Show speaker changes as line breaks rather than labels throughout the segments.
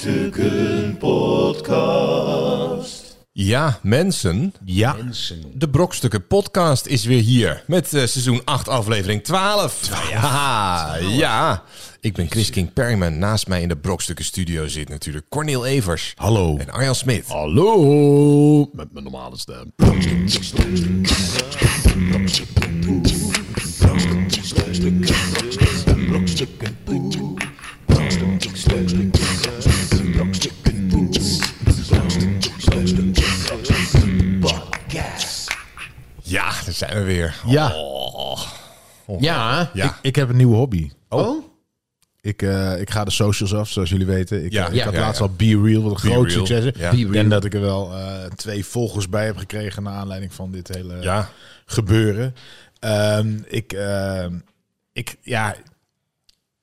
Brokstukken Podcast.
Ja, mensen.
Ja.
De Brokstukken Podcast is weer hier. Met eh, seizoen 8, aflevering 12. Haha, ja. Ik ben Chris King Perryman. Naast mij in de Brokstukken Studio zit natuurlijk Cornel Evers.
Hallo.
En Arjan Smit.
Hallo. Met mijn normale stem.
Ja, daar zijn we weer.
Ja.
Oh. ja. ja.
Ik, ik heb een nieuwe hobby.
oh.
Ik, eh, ik ga de socials af, zoals jullie weten. Ik, eh,
Ja,
ik
ja,
had
ja,
laatst
ja.
al Be Real, wat een
Be
groot
Real,
succes. is.
ja. Be
Ik denk dat ik er wel eh, twee volgers bij heb gekregen... naar aanleiding van dit hele
Ja.
gebeuren. Ehm, ik, ehm, ik, ja,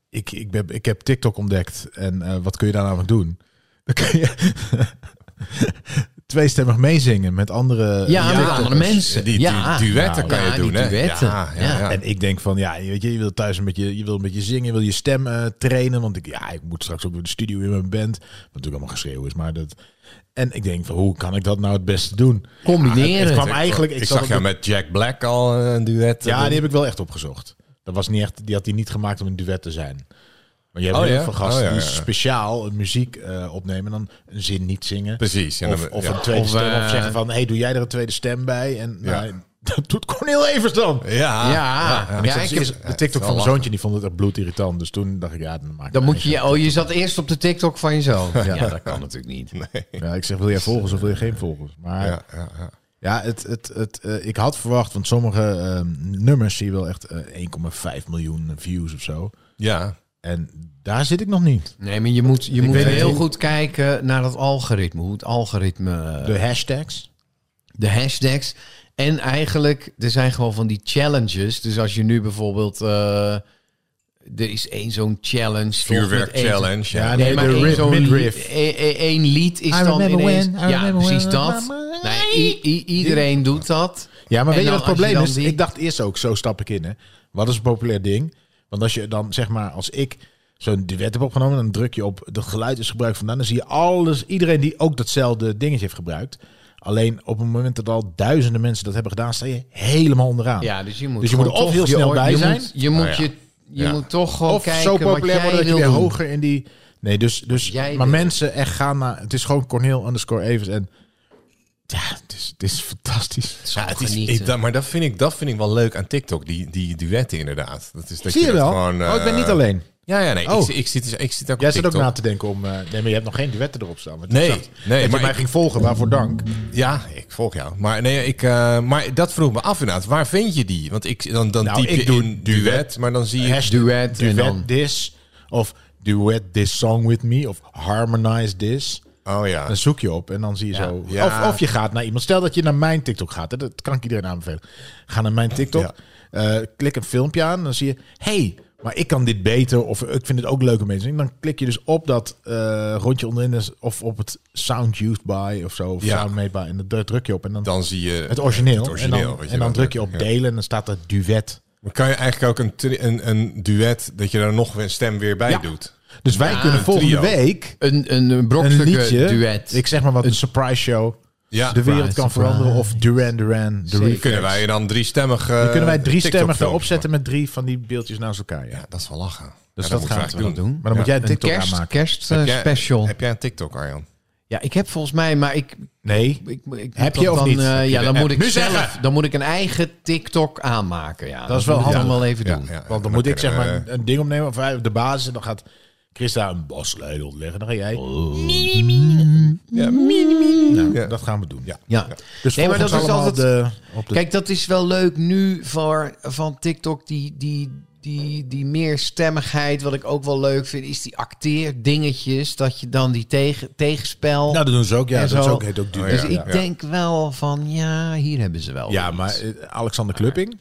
ik, ik, ben, ik heb TikTok ontdekt. En eh, wat kun je daar nou mee doen? Dan kun je tweestemmig meezingen met andere... eh,
Ja, met
TikTokkers.
andere mensen.
Die,
ja.
die duetten kan
Ja,
je doen,
die
hè?
duetten.
Ja, ja,
Ja.
ja.
En ik denk van, ja, je weet je, je wil thuis een beetje, je wil een beetje zingen, je wil je stem eh, trainen. Want ik, ja, ik moet straks ook weer de studio in mijn band. Wat natuurlijk allemaal geschreeuw is, maar dat... En ik denk van, hoe kan ik dat nou het beste doen?
Combineren.
Het kwam eigenlijk...
Ik,
zat
zag
op
jou
de-
met Jack Black al eh, een duet.
Ja,
doen.
die heb ik wel echt opgezocht. Dat was niet echt, die had hij niet gemaakt om een duet te zijn. Maar je hebt
Oh,
heel
ja?
veel gasten
Oh, ja,
die
ja.
speciaal een muziek eh, opnemen en dan een zin niet zingen.
Precies. En
Of,
dan-
of
ja.
een tweede
Of,
stem. Of
eh,
zeggen van, hey, doe jij er een tweede stem bij? En
Ja.
nou, dat doet Cornel Evers dan.
Ja.
Ja.
En ik
Ja,
zat
ik
dus
heb-
eerst de TikTok
wel
van mijn
lachen.
zoontje, die vond het echt bloedirritant. Dus toen dacht ik, ja, dan maak ik
Dan
mijn
moet je, je- oh, je zat eerst op de TikTok van jezelf. Ja, dat kan natuurlijk niet.
eigen- Ja, ik zeg, wil jij volgers of wil je geen volgers? Maar
Ja,
ja,
ja, ja.
het, het, het, eh, ik had verwacht, want sommige eh, nummers zie je wel echt eh, 1,5 miljoen views of zo.
ja.
En daar zit ik nog niet.
Nee, maar je moet, je moet
weet het
heel
niet.
goed kijken naar dat algoritme. Hoe het algoritme, eh, de,
De hashtags.
hashtags. En eigenlijk, er zijn gewoon van die challenges. Dus als je nu bijvoorbeeld... eh, er is één zo'n challenge. toch, met
Vuurwerk
één-
challenge. Ja.
Ja,
Nee,
de-
maar
de
één
riff,
zo'n
midriff.
li- e- e- één lied is dan
remember
ineens...
when, I
ja,
remember
precies
when,
dat.
I-
Nee, i- i- iedereen doet dat.
Ja, maar
En
weet je
dan
wat het
als je
probleem
dan
is?
die-
Ik dacht eerst ook, zo stap ik in. Hè. Wat is een populair ding? Want als je dan, zeg maar, als ik zo'n duet heb opgenomen, dan druk je op dat geluid is gebruikt vandaan. Dan zie je alles, iedereen die ook datzelfde dingetje heeft gebruikt. Alleen op het moment dat al duizenden mensen dat hebben gedaan, sta je helemaal onderaan.
Ja, dus je moet,
Dus je moet
gewoon
er of
toch
heel
je
snel
oor-
bij
je
zijn.
Moet, je moet,
Oh ja.
je, je
Ja.
moet toch gewoon
of
kijken
zo populair
wat jij
worden dat je
wil
weer
doen.
hoger in die. Nee, dus, dus
Jij
maar
wil.
mensen echt gaan naar. Het is gewoon Corneel underscore Evers en. Ja, het is, het is fantastisch.
Zal
Ja, het is,
genieten.
ik- dat, maar dat vind, ik, dat vind ik wel leuk aan TikTok, die, die duetten inderdaad. Dat is dat
Zie je
dat
wel?
Gewoon,
oh, ik ben
eh,
niet alleen.
Ja, ja, nee. Ik,
Oh.
zi- ik, zit, dus- ik zit ook
Jij
op
zit ook
TikTok.
na te denken om. eh, nee, maar je hebt nog geen duetten erop staan. want
Nee,
ik zag
nee,
Dat
maar
je mij
ik-
ging volgen, waarvoor dank.
Ja, ik volg jou. Maar, nee, ik, eh, maar dat vroeg me af inderdaad. Waar vind je die? Want ik, dan, dan
Nou,
typ je
ik doe
in duet,
duet.
maar dan zie je...
Hashtag
duet
duet
en dan-
this. Of duet this song with me. Of harmonize this.
oh ja.
Dan zoek je op en dan zie je zo.
Ja.
Of, of je gaat naar iemand. Stel dat je naar mijn TikTok gaat. hè, Dat kan ik iedereen aanbevelen. Ga naar mijn TikTok.
Ja.
eh, klik een filmpje aan. Dan zie je. hey, maar ik kan dit beter. Of ik vind het ook leuk om mee te zien. Dan klik je dus op dat eh, rondje onderin. is- Of op het sound used by of zo. Of
Ja.
sound made by. En daar druk je op. En dan,
Dan zie je
het origineel.
het origineel,
en dan,
weet je
en dan
wel.
druk je op
Ja.
delen. En dan staat er duet.
Maar kan je eigenlijk ook een, tri- een, een duet, dat je daar nog een stem weer bij
Ja.
doet?
Dus wij
Ja,
kunnen
een
volgende
trio.
week
Een, een, een
een
brokstukken
liedje.
duet.
Ik zeg maar wat. Een surprise show.
Ja,
de wereld kan
surprise.
veranderen. Of Duran Duran. The Reflex.
kunnen wij dan driestemmig... stemmig eh,
Dan kunnen wij drie stemmen erop zetten met drie van die beeldjes naast elkaar. Ja.
Ja, dat is wel lachen.
Dus
Ja,
dat
moeten
gaan
eigenlijk
we wel doen. Maar dan moet jij een
een
TikTok
kerst,
aanmaken.
kerst
Heb
eh,
jij-
special.
Heb jij een TikTok, Arjan?
ja, ik heb volgens mij, maar ik...
Nee.
ik, ik
Heb
moet
je
dat
of
dan,
niet?
eh,
Heb je
ja,
de
dan
app?
moet, ik
Nu
zelf,
zeggen!
dan moet ik een eigen TikTok aanmaken. Ja.
Dat is wel
moet ik dan
handig.
wel even
Ja,
doen.
ja, ja.
Want dan moet ik zeg
kunnen we-
maar een ding opnemen. Of wij op de basis. En dan gaat Chris daar een basleider leggen. Dan ga jij.
Oh.
Ja, mini,
Nou,
Ja.
Dat gaan we doen. Ja.
Ja.
Dus
Nee, maar
volg ons
dat is
allemaal
altijd-
de- op de...
Kijk, dat is wel leuk nu voor, van TikTok. Die, die, die, die meerstemmigheid, wat ik ook wel leuk vind, is die acteerdingetjes. Dat je dan die tegen, tegenspel.
Nou, dat doen ze ook. Ja,
En
dat is
zo.
ook, heet ook duur.
Oh,
dus
ja.
ik
ja.
denk wel van, ja, hier hebben ze wel.
Ja,
iets.
maar eh, Alexander Klupping,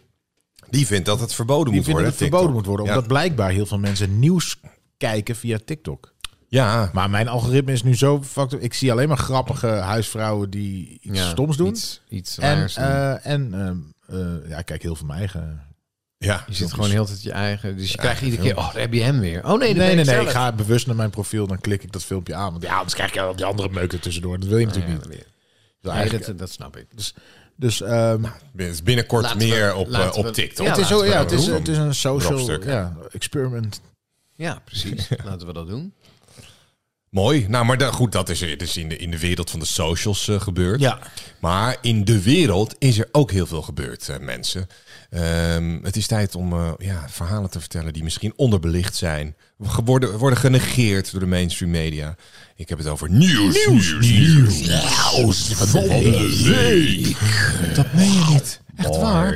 Die vindt dat het verboden
die
moet
vindt
worden.
dat het verboden moet
TikTok.
worden.
Ja.
Omdat blijkbaar heel veel mensen nieuws kijken via TikTok.
Ja,
Maar mijn algoritme is nu zo fucked up. Ik zie alleen maar grappige huisvrouwen die iets
Ja,
stoms doen.
Iets, iets
En,
raars doen.
eh, en ehm, eh, ja, ik kijk heel veel mijn eigen
Ja,
Je zit gewoon heel tijd je eigen. Dus je krijgt iedere keer, oh, daar heb je hem weer. Oh nee, daar
Nee,
ben
nee,
ik
nee.
zelf.
Ik ga bewust naar mijn profiel, dan klik ik dat filmpje aan. Want ja, anders krijg je al die andere meuk er tussendoor. Dat wil je
Ja,
natuurlijk
weer.
niet. Dus,
Nee,
eigenlijk-
dat, dat snap ik.
dus, dus ehm,
Het is binnenkort
Laten we-
meer op, eh,
laten we-
op TikTok.
Ja,
het, is
laten
zo,
we
ja,
dat
het, is,
doen.
het is een social
Brokstukken.
ja, experiment.
Ja, precies. Laten we dat doen.
Mooi. Nou, maar da- goed, dat is, er- dus in, de, in de wereld van de socials eh, gebeurd.
Ja.
Maar in de wereld is er ook heel veel gebeurd, eh, mensen. Ehm, het is tijd om eh, ja, verhalen te vertellen die misschien onderbelicht zijn. ge- Worden, worden genegeerd door de mainstream media. Ik heb het over nieuws. Nieuws. Nieuws. van de week. Dat meen je niet. Echt waar?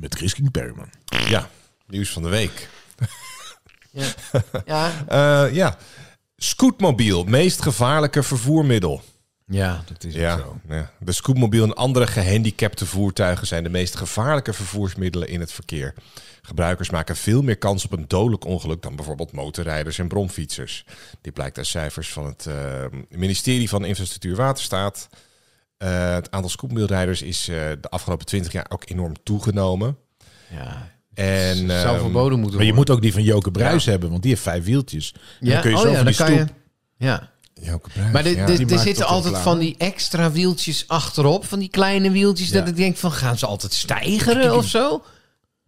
Met Chris King Perryman.
Ja, nieuws van de week.
Ja, ja.
Eh, ja, scootmobiel, meest gevaarlijke vervoermiddel.
ja dat is
Ja, ja. de scootmobiel en andere gehandicapte voertuigen zijn de meest gevaarlijke vervoersmiddelen in het verkeer. Gebruikers maken veel meer kans op een dodelijk ongeluk dan bijvoorbeeld motorrijders en bromfietsers. Dit blijkt uit cijfers van het eh, ministerie van Infrastructuur Waterstaat. Eh, het aantal scootmobielrijders is eh, de afgelopen 20 jaar ook enorm toegenomen.
Ja.
En,
zou
ehm,
verboden moeten worden.
Maar je moet ook die van Joke Bruis hebben, want die heeft vijf wieltjes. En
Ja,
dan kun je
oh
zo
ja,
van
dan
die
kan je.
stoep.
Ja.
Joke Bruijs,
Maar de-
ja.
de-
die
er
maakt
zitten
het ook
altijd
klaar.
van die extra wieltjes achterop, van die kleine wieltjes, dat
Ja.
ik denk van gaan ze altijd stijgeren of zo?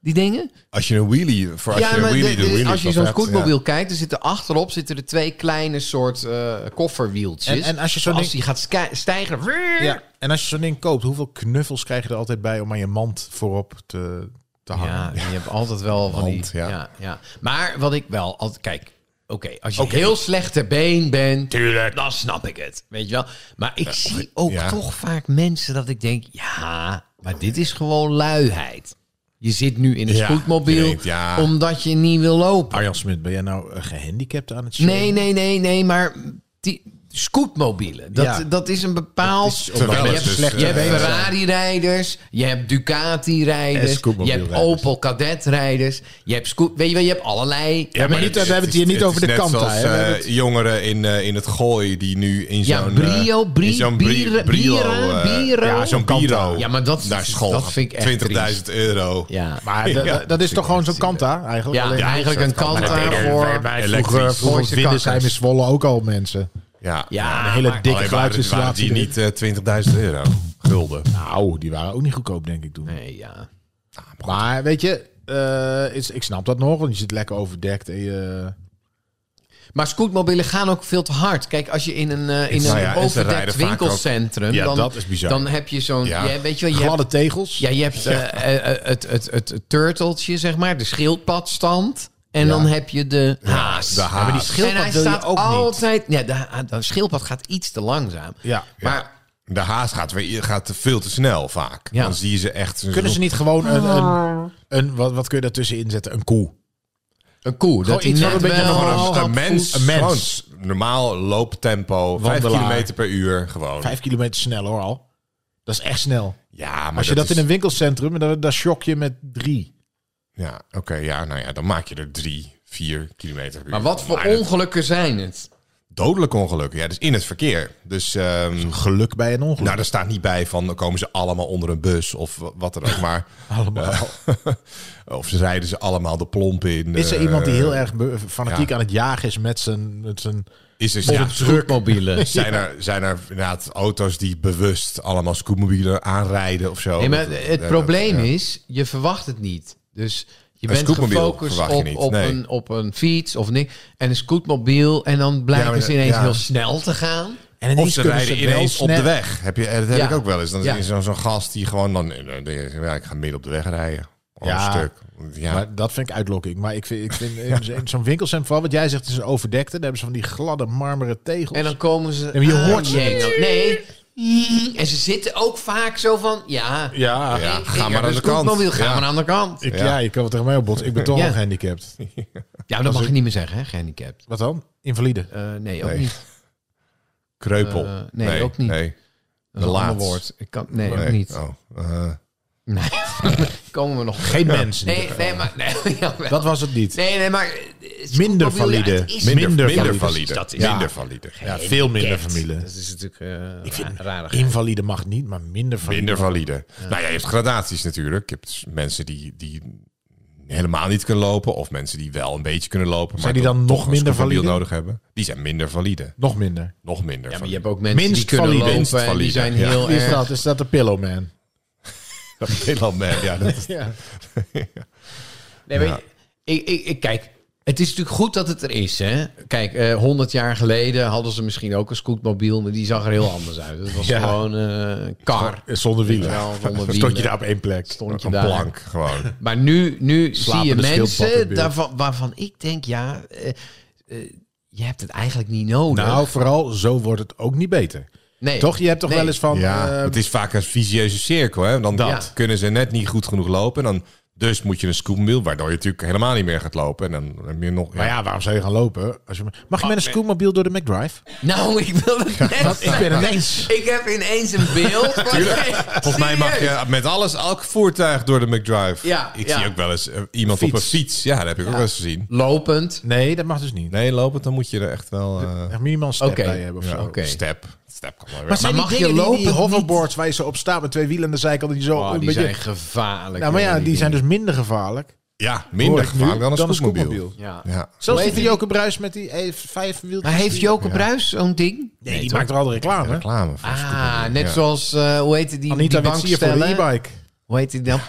Die dingen?
Als je een wheelie, voor als je een
de-
wheelie doet,
de-
wheelie
als je
is
zo'n
wel vet,
scootmobiel kijkt, er zitten achterop zitten er twee kleine soort eh, kofferwieltjes.
En- en als je zo'n
als
ding-
die gaat sky- stijgen, wrrr,
Ja. En als je zo'n ding koopt, hoeveel knuffels krijg je er altijd bij om aan je mand voorop te, te hangen?
Ja, je hebt altijd wel van
Hand,
die...
ja.
Ja. Ja, Maar wat ik wel altijd... Kijk, oké, als je heel slecht ter been bent, dan snap ik het. Weet je wel? Maar ik zie ook
ja.
toch vaak mensen dat ik denk... Ja, maar dit is gewoon luiheid. Je zit nu in een
Ja, je
scootmobiel
denkt, ja.
omdat je niet wil lopen.
Arjan Smit, ben jij nou eh, gehandicapt aan het show?
Nee, nee, nee, nee, maar... Die, Scootmobielen, dat,
Ja.
dat is een bepaald...
omdat
je
het
hebt,
dus,
slecht, je
eh,
hebt Ferrari-rijders, je hebt
En
Ducati-rijders, je hebt
scootmobielrijders.
Opel Cadet-rijders, je hebt scoot... Weet je wel, je hebt allerlei...
Ja, maar niet, we hebben het hier niet over de kant.
kant jongeren in, eh, in het gooi die nu in
Ja,
zo'n...
brio,
eh,
bri-
in zo'n bri-
bira- bira-
eh,
biro?
Ja, zo'n biro.
Ja, maar dat-
naar school.
dat
gaat.
vind ik echt
20.000 euro.
Ja,
Maar d-
Ja.
d- dat is toch gewoon zo'n kanta eigenlijk?
Ja,
Alleen-
eigenlijk een kant daarvoor.
Vroeger,
Elektrisch.
vroeger
Gooise
vinden zij
kakkers.
in Zwolle ook al mensen.
Ja,
Ja,
Een hele
maar-
dikke
Alleen waren- waren die
geluidsinstallatie.
niet eh, 20.000 euro. Gulden.
Nou, die waren ook niet goedkoop, denk ik toen.
Nee, ja.
Maar weet je, eh, is, ik snap dat nog, want je zit lekker overdekt. En je,
Maar scootmobielen gaan ook veel te hard. Kijk, als je in een, eh, in
Nou
een
ja, en ze rijden
overdekt
vaak
winkelcentrum...
Ja,
dan,
dat is bizar.
Dan heb je zo'n...
Ja.
Ja. weet je wel, je hebt-
gladde tegels.
Ja, je hebt eh, eh, eh, het, het, het, het turteltje, zeg maar, de schildpadstand. En dan heb je de haas.
de haas. Ja, maar die
schildpad
en hij
wil je
staat
ook niet.
altijd. Ja, de, ha- de schildpad gaat iets te langzaam.
Ja.
Maar
De haas gaat, weer, gaat veel te snel vaak.
Ja.
Dan zie je ze echt...
Kunnen ze niet gewoon een, een, een wat, wat kun je daartussen inzetten? Een koe.
een koe, dat
iets
die
wat
net
een beetje
wel-
nog
Gewoon een, een mens.
Een mens.
Gewoon normaal looptempo. 5
Wandelaar.
kilometer per uur. Gewoon.
Vijf kilometer snel hoor al. Dat is echt snel.
Ja, maar
Als je dat,
is-
in een winkelcentrum, dan, dan shock je met drie.
Ja, oké. ja, nou ja, dan maak je er drie, vier kilometer per uur.
Maar wat voor
dat-
ongelukken zijn het?
Dodelijk ongeluk. Ja, dus in het verkeer. Dus ehm,
Geluk bij een ongeluk.
nou, daar staat niet bij van dan komen ze allemaal onder een bus of wa- wat dan ook. Maar, Eh,
Allemaal.
of ze rijden ze allemaal de plomp in.
is er
eh,
iemand die heel erg be- fanatiek
ja.
aan het jagen is met zijn... Met zijn
Is er, ja,
Ja, scootmobielen.
zijn, er, zijn er inderdaad auto's die bewust allemaal scootmobielen aanrijden of zo?
Nee, maar
Dat- dat-
het
dat-
probleem
ja.
is, je verwacht het niet. Dus je
Een
bent
scootmobiel
gefocust
verwacht je
op,
niet,
op,
nee.
een, op een fiets of niks. En een scootmobiel. En dan blijken
maar-
ze ineens
ja.
heel snel te gaan.
en
Of ze rijden
wel
ineens op
snel-
de weg. Heb je, dat heb
Ja.
ik ook wel eens. Dan
Ja.
is er zo'n gast die gewoon dan... eh, dan denk je, Ja, ik ga midden op de weg rijden. Oh,
Ja.
Een stuk. Ja.
Maar dat vind ik uitlokking. Maar ik vind, ik vind in zo- in zo'n winkelcentrum, vooral wat jij zegt, is een overdekte. Daar hebben ze van die gladde marmeren tegels.
En dan komen ze.
maar je hoort ze
jee, nou, Nee. En ze zitten ook vaak zo van. Ja, dus
Ja,
ja,
ik-
ga maar
ik heb
aan
een
de
scootmobiel,
kant.
Ga
Ja.
maar aan de kant.
Ik, ja. je kan het tegen mij opbotsen. Ik ben toch
Ja.
al gehandicapt.
Ja, maar dat mag je niet meer zeggen, hè? Gehandicapt.
Wat dan? Invalide.
Eh, nee, ook
Nee.
niet.
Kreupel.
Eh, nee, ook niet.
Nee.
Dat is een ander
laatst.
woord. Ik kan, nee,
Nee.
ook niet.
Oh, eh.
Nee. komen we nog.
Geen mens. in
Nee,
ieder geval.
nee, maar. Nee, jawel.
Dat was het niet.
Nee, nee, maar
Minder
Scootmobiel, ja,
valide.
het is-
Minder, minder,
valide.
valide.
Dat is-
minder valide.
Ja, veel minder
Kent.
valide.
Dat is natuurlijk eh
Ik vind
ra- raar.
invalide mag niet, maar minder valide.
Minder valide. Nou ja, je hebt gradaties natuurlijk. Je hebt dus mensen die, die helemaal niet kunnen lopen. Of mensen die wel een beetje kunnen lopen. Maar
Zijn die dan
toch-
nog
toch een
minder
scootmobiel
valide?
nodig hebben. Die zijn minder valide.
Nog minder.
Nog minder
Ja, maar
valide.
je hebt ook mensen die
Minst
kunnen
valide.
Minst
lopen en
valide,
die zijn
ja.
heel
Wie is
erg...
dat? Is dat de Pillow Man?
Nederland, man. Ja, dat is-
Ja.
Nee, maar
Ja.
ik, ik, ik, kijk, het is natuurlijk goed dat het er is. Hè? Kijk, eh 100 jaar geleden hadden ze misschien ook een scootmobiel, maar die zag er heel anders uit. Het was
Ja.
gewoon eh, een kar.
Zonder wielen.
Ja, zonder
Dan Stond
wielen.
je daar op één plek.
Stond je
een
daar.
plank gewoon.
Maar nu, nu zie je
Slapende schildpad in de
mensen
buurt.
daarvan, waarvan ik denk, ja, eh, eh, je hebt het eigenlijk niet nodig.
Nou, vooral zo wordt het ook niet beter.
nee.
Toch? Je hebt toch
Nee.
wel eens van...
Ja,
eh,
het is vaak een vicieuze cirkel. Hè? Dan
Dat.
kunnen ze net niet goed genoeg lopen. En dan, dus moet je een scootmobiel, waardoor je natuurlijk helemaal niet meer gaat lopen. En dan heb je nog...
maar ja, waarom zou je gaan lopen? Als je... maar- Mag je met een scootmobiel door de McDrive?
Nou, ik wil het net
Ik ben
zeggen.
ineens...
Ik heb ineens een beeld. van-
Volgens mij mag
Serieus.
je met alles, elk voertuig door de McDrive.
Ja,
ik
ja.
zie ook wel eens eh, iemand op een
Fiets.
fiets. Ja, dat heb ik ook wel eens gezien.
Lopend.
Nee, dat mag dus niet.
Nee, lopend, dan moet je er echt wel... eh,
Echt minimaal een step
Oké.
bij hebben of
ja,
zo.
Oké.
Step. Step kan wel weer.
Maar, zijn
Maar
die
mag je
dingen die- die
lopend
hoverboards waar je zo op staat met twee wielen aan de zijkant... Die zo
Oh,
een
die
beetje-
zijn gevaarlijk.
Nou, maar ja,
hoor,
die, zijn dus minder gevaarlijk.
ja,
hoor
minder
ik
gevaarlijk
nu,
dan een scootmobiel.
scootmobiel.
Ja.
Ja.
Zelfs
Hoe
die
heet
Joke Bruis met die eh, vijf wieltjes.
Maar heeft
die-
Joke Bruis zo'n ding?
Nee, die
toch?
maakt er al de reclame.
Reclame voor
Ah,
scootmobiel,
net
ja.
zoals, eh, hoe heet die,
Anita
die
Witsier voor de
bankstellen?
e-bike.
hoe heet die dan?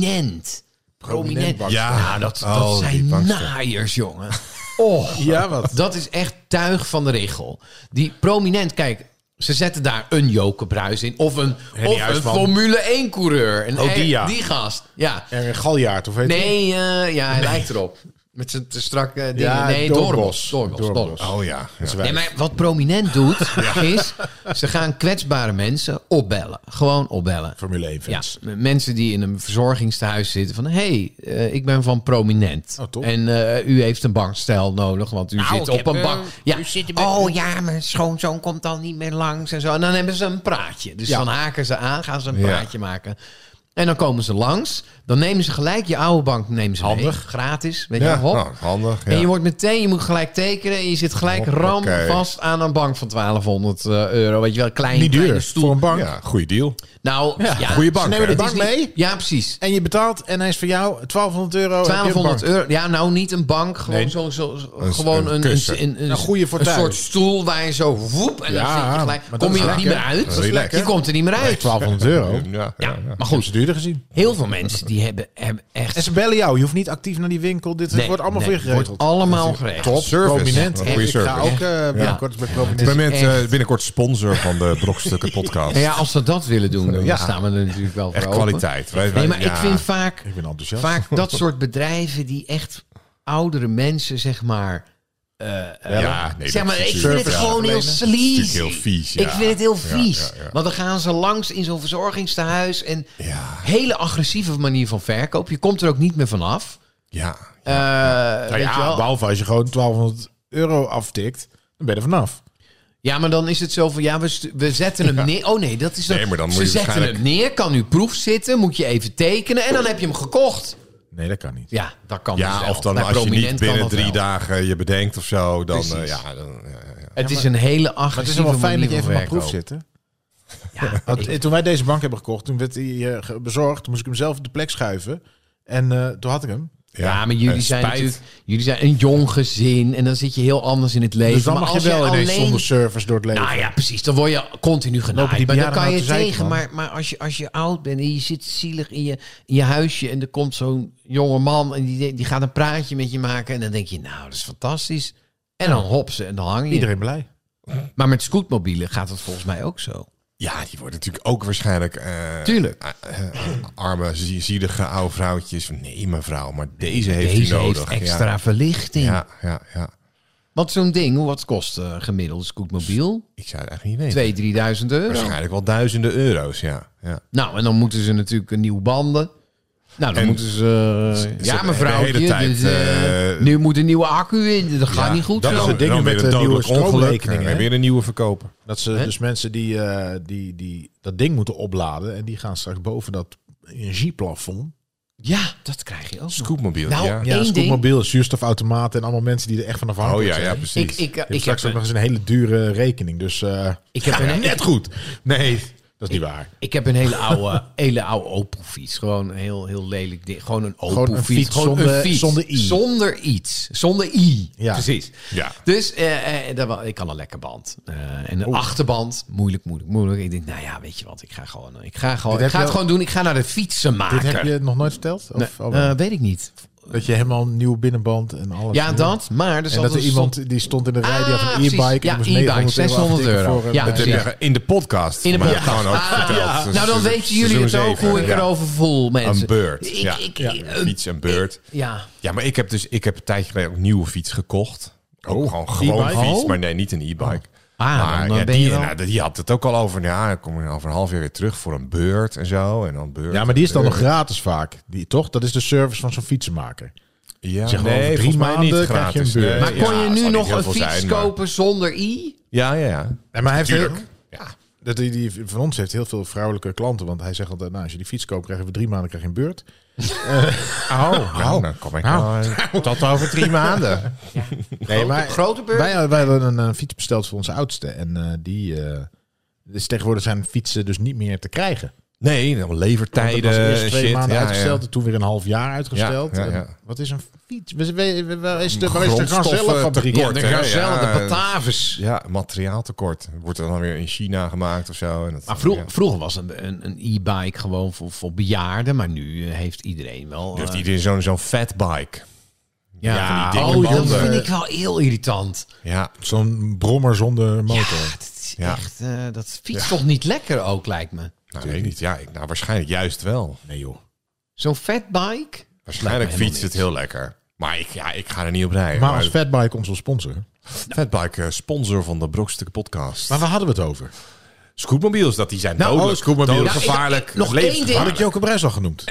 Prominent. Prominent.
bank.
Ja,
Nou, dat, dat
oh, die
zijn
bankster.
naaiers, jongen. Oh,
Ja, wat?
dat is echt tuig van de regel. Die Prominent, kijk, ze zetten daar een Joke Bruis in. Of een, of een
Huisman.
Formule 1 coureur. Een,
Oh, die ja.
Die gast, ja.
En een galjaard, of weet je?
Nee, eh, ja, hij lijkt erop. Met zijn te strakke dingen.
Ja,
nee,
Doorbos.
Doorbos. Doorbos,
Doorbos.
Doorbos.
Oh ja. ja.
Nee, maar wat Prominent doet, is... ze gaan kwetsbare mensen opbellen. Gewoon opbellen.
Formule 1
Ja,
fans.
m- mensen die in een verzorgingstehuis zitten van... hey, eh, ik ben van Prominent.
Oh, top.
en eh, u heeft een bankstel nodig, want u
Nou,
zit
ik
op
heb,
een
eh,
bank. Ja.
u zit er met-
Oh ja, mijn schoonzoon komt dan niet meer langs en zo. En dan hebben ze een praatje. Dus
Ja.
dan haken ze aan, gaan ze een
Ja.
praatje maken. En dan komen ze langs. Dan nemen ze gelijk je oude bank nemen ze mee.
Handig.
Gratis, weet
Ja,
je wel. Hop.
nou, handig.
En je
Ja.
wordt meteen, je moet gelijk tekenen en je zit gelijk ram
Hoppakee.
vast aan een bank van 1200 euro. Weet je wel, klein,
Niet
kleine
duur,
stoel.
voor een bank.
Ja, goede deal.
Nou, ja,
goede bank.
Ze nemen de
hè?
bank
Het is niet-
mee Oh,
Ja, precies.
en je betaalt en hij is voor jou 1200 euro. heb je op
1200
bank.
euro. Ja, nou niet een bank. Gewoon,
Nee.
zo, zo, zo-
Een-
gewoon
een
een, een,
kussen.
een, een-
Een goede voor
een
thuis.
soort stoel waar je zo woep en dan
Ja,
zit je gelijk.
maar dat
Kom
is
je er niet
lekker.
meer uit.
Dat is lekker.
Je komt er niet meer uit.
1200 euro.
Ja, ja,
ja,
ja.
maar
Goed,
goed.
ze duurder gezien.
Heel veel mensen die hebben, hebben echt...
En ze bellen jou. Je hoeft niet actief naar die winkel. Dit
Nee,
wordt allemaal
nee,
voor je geregeld.
wordt allemaal geregeld.
Top service.
Prominent.
Wat een goede
ik ga
service.
ook eh binnenkort bij
Ik
prominent.
ben met,
echt-
eh, binnenkort sponsor van de Brokstukken podcast.
En ja, als ze dat willen doen, dan
Ja.
staan we er natuurlijk wel voor
Echt
open.
kwaliteit. Wij- wij-
Nee, maar
ja.
ik vind vaak,
Ik ben enthousiast.
vaak dat soort bedrijven die echt oudere mensen, zeg maar...
Ja, nee,
zeg
dat
maar,
is
ik vind
natuurlijk-
het
service
gewoon
verlenen.
heel
Dat is
sleazy.
natuurlijk heel vies, ja.
Ik vind het heel
Ja,
vies.
ja, ja.
Want dan gaan ze langs in zo'n verzorgingstehuis. En
Ja.
hele agressieve manier van verkoop. Je komt er ook niet meer vanaf.
Ja.
Eh,
Nou
weet je
ja,
wel?
behalve als je gewoon 1200 euro aftikt, dan ben je er vanaf.
ja, maar dan is het zo van, ja, we, stu- we zetten hem neer. Oh nee, dat is dan,
Nee, maar dan
Ze
moet je
zetten
waarschijnlijk-
hem neer, kan u proef zitten, moet je even tekenen en dan heb je hem gekocht.
Nee, dat kan niet.
Ja, dat kan dus
Ja,
wel.
of dan
Bij
als je
Prominent
niet
kan
binnen
dat
drie
wel.
dagen je bedenkt of zo, dan... eh,
Precies.
ja, dan ja, ja, ja.
Het is een hele agressieve
Maar het is wel fijn
manier
dat je even
van
op proef
verkoop.
zit. hè?
Ja,
Want, eh, toen wij deze bank hebben gekocht, toen werd hij eh, ge- bezorgd. Toen moest ik hem zelf op de plek schuiven. En eh, toen had ik hem.
Ja, maar jullie
en
eh,
zijn
Eh, spijt.
natuurlijk jullie zijn een jong gezin en dan zit je heel anders in het leven.
Dus dan
maar
mag je
als jij
wel ineens
alleen-
zonder service door het leven.
Nou ja, precies. Dan word je continu
Lopen
genaaid.
die
Maar dan
bejaarden
kan
nou
je
te zeiken,
tegen.
man?
Maar, maar als, je, als je oud bent en je zit zielig in je, in je huisje... en er komt zo'n jonge man en die, die gaat een praatje met je maken... en dan denk je, nou, dat is fantastisch. En dan hop ze en dan hang je.
Iedereen blij.
Maar met scootmobielen gaat het volgens mij ook zo.
Ja, die worden natuurlijk ook waarschijnlijk... eh,
Tuurlijk.
eh, eh, arme, zie- zielige oude vrouwtjes. Nee, mevrouw, maar deze heeft
Deze
u nodig.
heeft extra verlichting.
Ja, ja, ja, ja.
Want zo'n ding, wat kost eh gemiddeld een scootmobiel?
Ik zou het eigenlijk niet weten.
2.000, 3.000 euro.
Waarschijnlijk wel duizenden euro's, ja. ja.
Nou, en dan moeten ze natuurlijk een nieuwe banden. Nou, dan
En
moeten ze...
ze- ze-
ja,
de
mevrouw,
hele tijd, eh,
nu moet een nieuwe accu in. Dat gaat
Ja,
niet goed.
Dan,
zo.
dan,
Dat soort dingen
weer
met
een
de nieuwe
dodelijk ongeluk.
stroomrekeningen,
En
hè?
weer een nieuwe verkopen.
Dat ze dus mensen die, eh, die, die dat ding moeten opladen. En die gaan straks boven dat energieplafond.
Ja, dat krijg je ook. nog.
Scootmobiel,
Nou,
ja.
ja.
Ja,
Eén
scootmobiel, zuurstofautomaten en allemaal mensen die er echt van
Oh
afhankelijk
ja,
zijn.
ja,
Ik,
precies.
ik,
Je
ik,
hebt straks ook
heb,
nog eens een hele dure rekening. Dus eh,
Ik heb
ja,
een-
net goed. Nee, dat is niet waar.
ik heb een hele oude, hele oude Opel-fiets. Gewoon een heel, heel lelijk ding. Gewoon een
een
Opel-fiets.
fiets zonder- zonder i.
Zonder iets. Zonder i.
Ja.
Precies.
Ja.
Dus eh, eh, dat wa- ik kan een lekker band. Eh, en een achterband, moeilijk, moeilijk, moeilijk. Ik denk, nou ja, weet je wat, ik ga gewoon, ik ga gewoon,
Dit
ik ga
heb
het
je
gewoon doen. Ik ga naar de fietsen maken.
Dit heb je nog nooit verteld? Of,
Nee,
oh, wel.
eh, weet ik niet.
dat je helemaal een nieuwe binnenband en alles.
Ja, dat, maar... Dus
En dat er iemand die stond in de rij, die had
Ah,
een
precies.
e-bike. en
Ja,
moest
e-bike,
900
600
aftikken
euro.
voor een-
Ja,
Dat heb
precies.
je in de podcast.
In de
maar
podcast.
Gewoon ook
Ah,
verteld. Dus
ja.
Seizoen-
Nou, dan weten jullie het
seizoen
ook hoe
zeven,
ik
ja.
erover voel, mensen.
Een beurt.
Ik,
ja.
ik,
Ja.
eh,
Fiets, een beurt.
ja.
Ja, maar ik heb dus ik heb een tijdje geleden ook een nieuwe fiets gekocht. Ook gewoon gewoon
e-bike?
fiets,
Oh.
maar nee, niet een e-bike.
Ah,
maar
dan, eh,
ja,
ben
die,
je wel-
nou, die had het ook al over. nou Ja, dan kom je over een half jaar weer terug voor een beurt en zo. En dan beurt.
Ja, maar die is dan nog gratis vaak. Die, toch? Dat is de service van zo'n fietsenmaker.
Ja,
Zeg,
nee,
over drie
volgens mij
maanden
niet
krijg je een
gratis.
beurt.
Nee,
Maar
ja,
kon je
zal
nu
niet
nog
heel
een
veel
fiets
zijn, maar-
kopen zonder i?
Ja, ja, ja.
En maar hij heeft
Tuurlijk.
heel, dat, die, die van ons heeft heel veel vrouwelijke klanten. Want hij zegt altijd, nou, als je die fiets koopt, krijgen we drie maanden krijg je een beurt.
Oh, nou, dan kom ik wel, eh, tot over drie maanden.
Nee, maar
grote beurt?
Wij, wij hadden een, eh, fiets besteld voor onze oudste. En eh, die... eh, dus tegenwoordig zijn fietsen dus niet meer te krijgen.
Nee, dan
Want
levertijden.
dat was eerst twee
shit.
maanden
ja,
uitgesteld,
Ja.
en toen weer een half jaar uitgesteld.
Ja, ja, ja.
En Wat is een fiets? We- we- we- Waar is de, waar is de
Grondstoffen
gazellenfabriek?
tekort, hè?
Gazelle,
Ja,
de Bataves.
Ja, materiaaltekort. Wordt er dan weer in China gemaakt of zo. En dat,
Maar vroeg-
ja.
vroeger was een, een, een e-bike gewoon voor, voor bejaarden, maar nu eh, heeft iedereen wel...
Nu heeft
eh,
iedereen zo'n zo'n fatbike. van
ja,
die dikke
oh, dat
banden.
vind ik wel heel irritant.
Ja,
Zo'n brommer zonder
Ja,
motor.
dat is
Ja.
echt... eh, dat fietst toch niet lekker ook, lijkt me.
nou, weet ik niet. Ja, ik, nou, waarschijnlijk juist wel.
Nee joh.
Zo'n fatbike?
Waarschijnlijk
helemaal
fietst het heel lekker. Maar ik, ja, ik ga er niet op rijden.
Maar als Fatbike onze sponsor.
Fatbike, eh, sponsor van de Brokstukken podcast.
Maar waar hadden we het over?
Scootmobiels, dat die zijn nou,
oh,
dodelijk.
scootmobiels.
dodelijk,
Ja, ik-
gevaarlijk.
nog één ding.
Had
levensgevaarlijk.
ik Joke Bruis al genoemd?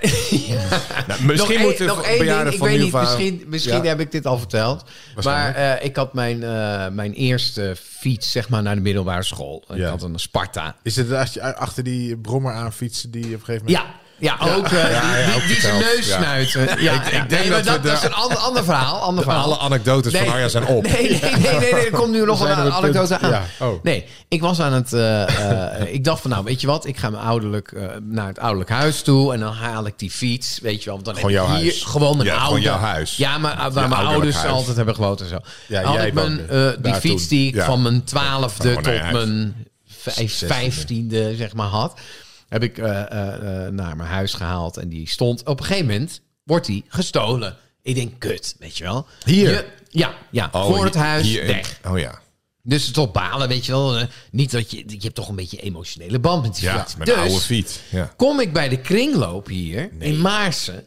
Nou, misschien
nog
moeten
één, nog één ding,
bejaarden
ik
van
weet
nu
niet,
varen-
misschien, misschien
Ja.
heb ik dit al verteld. Maar
Waarschijnlijk.
eh, ik had mijn, eh, mijn eerste fiets, zeg maar, naar de middelbare school. Ik
Ja.
had een Sparta.
Is het als je achter die brommer aan fietsen die op een gegeven moment...
Ja, ja, ook, eh,
ja,
die,
ook
die, die zijn
verteld,
neus
ja.
snuiten. Ja, ja.
ik denk dat
Nee, maar
we
dat, dat
daar-
is een ander, ander verhaal. Ander verhaal.
Alle anekdotes van Arja zijn op.
Nee, nee, nee, nee, nee, er komt nu nog
zijn op
een
het punt-
anekdote aan.
Ja, oh.
Nee, ik was aan het. eh, eh, ik dacht van, nou, weet je wat? Ik ga mijn ouderlijk, eh, naar het ouderlijk huis toe en dan haal ik die fiets, weet je wel? Want dan
Gewoon
heb ik
jouw
hier
huis.
gewoon mijn
Ja, gewoon
oude
jouw huis.
Ja, maar waar mijn
ouderlijk
ouders
huis.
altijd hebben gewoond en zo.
Ja,
had
jij
ik mijn,
woonde
eh, die
daar
fiets
toen.
die ik
Ja. Oh,
van mijn twaalfde
Gewoon naar je
tot
huis.
mijn vijf, vijftiende zeg maar had, heb ik eh, eh, eh, naar mijn huis gehaald en die stond. Op een gegeven moment wordt die gestolen. Ik denk, kut, weet je wel?
Hier?
Je- ja, ja. voor het
Oh, hier-
huis,
hier-
weg.
Oh ja.
Dus het op balen, weet je wel. eh, Niet dat je, je hebt toch een beetje emotionele band met die
Ja,
fiets.
met
dus
een oude fiets. Ja.
kom ik bij de kringloop hier in Maarsen.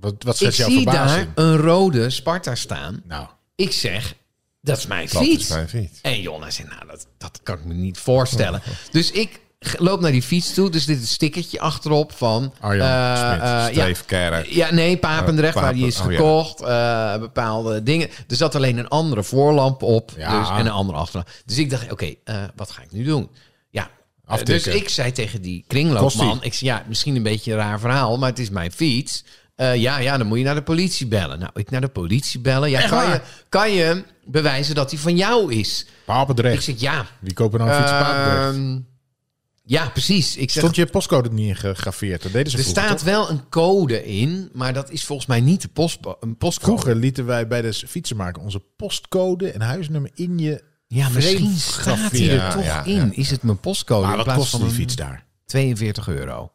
Wat, wat
Ik
zet jouw
zie daar
verbazing?
een rode Sparta staan.
Nou,
Ik zeg, dat is mijn
Dat
fiets.
is mijn fiets.
En Jonna zei, nou, dat, dat kan ik me niet voorstellen. Dus ik g- loop naar die fiets toe. Dus dit is een stickertje achterop van...
Arjan
eh,
Smit,
eh, ja,
Streefkerk.
ja, nee, Papendrecht,
Eh,
waar die is
Papen- oh ja.
gekocht. eh, bepaalde dingen. Er zat alleen een andere voorlamp op
Ja.
dus, en een andere achterlamp. Dus ik dacht, oké, eh, wat ga ik nu doen? Ja, eh,
Aftikken.
dus ik zei tegen die
Kost
kringloopman...
die?
Ik zei, ja, misschien een beetje een raar verhaal, maar het is mijn fiets. Eh, ja, ja, dan moet je naar de politie bellen. Nou, ik naar de politie bellen. Ja, kan
waar?
je, kan je bewijzen dat die van jou is? Ik
Papendrecht.
zeg, ja.
Wie kopen nou een fiets in Papendrecht?
ehm, ja, precies. Ik zeg,
Stond je postcode niet ingegraveerd? Dat deden ze
er
vroeger,
staat
toch?
wel een code in, maar dat is volgens mij niet de post, een postcode.
Vroeger lieten wij bij de fietsenmaker onze postcode en huisnummer in je...
Ja, misschien
vreemd
staat
grafje.
hij er
Ja,
toch
ja,
in. Is het mijn postcode
Maar
in
wat
plaats
kost
van
die
een
fiets daar?
42 euro?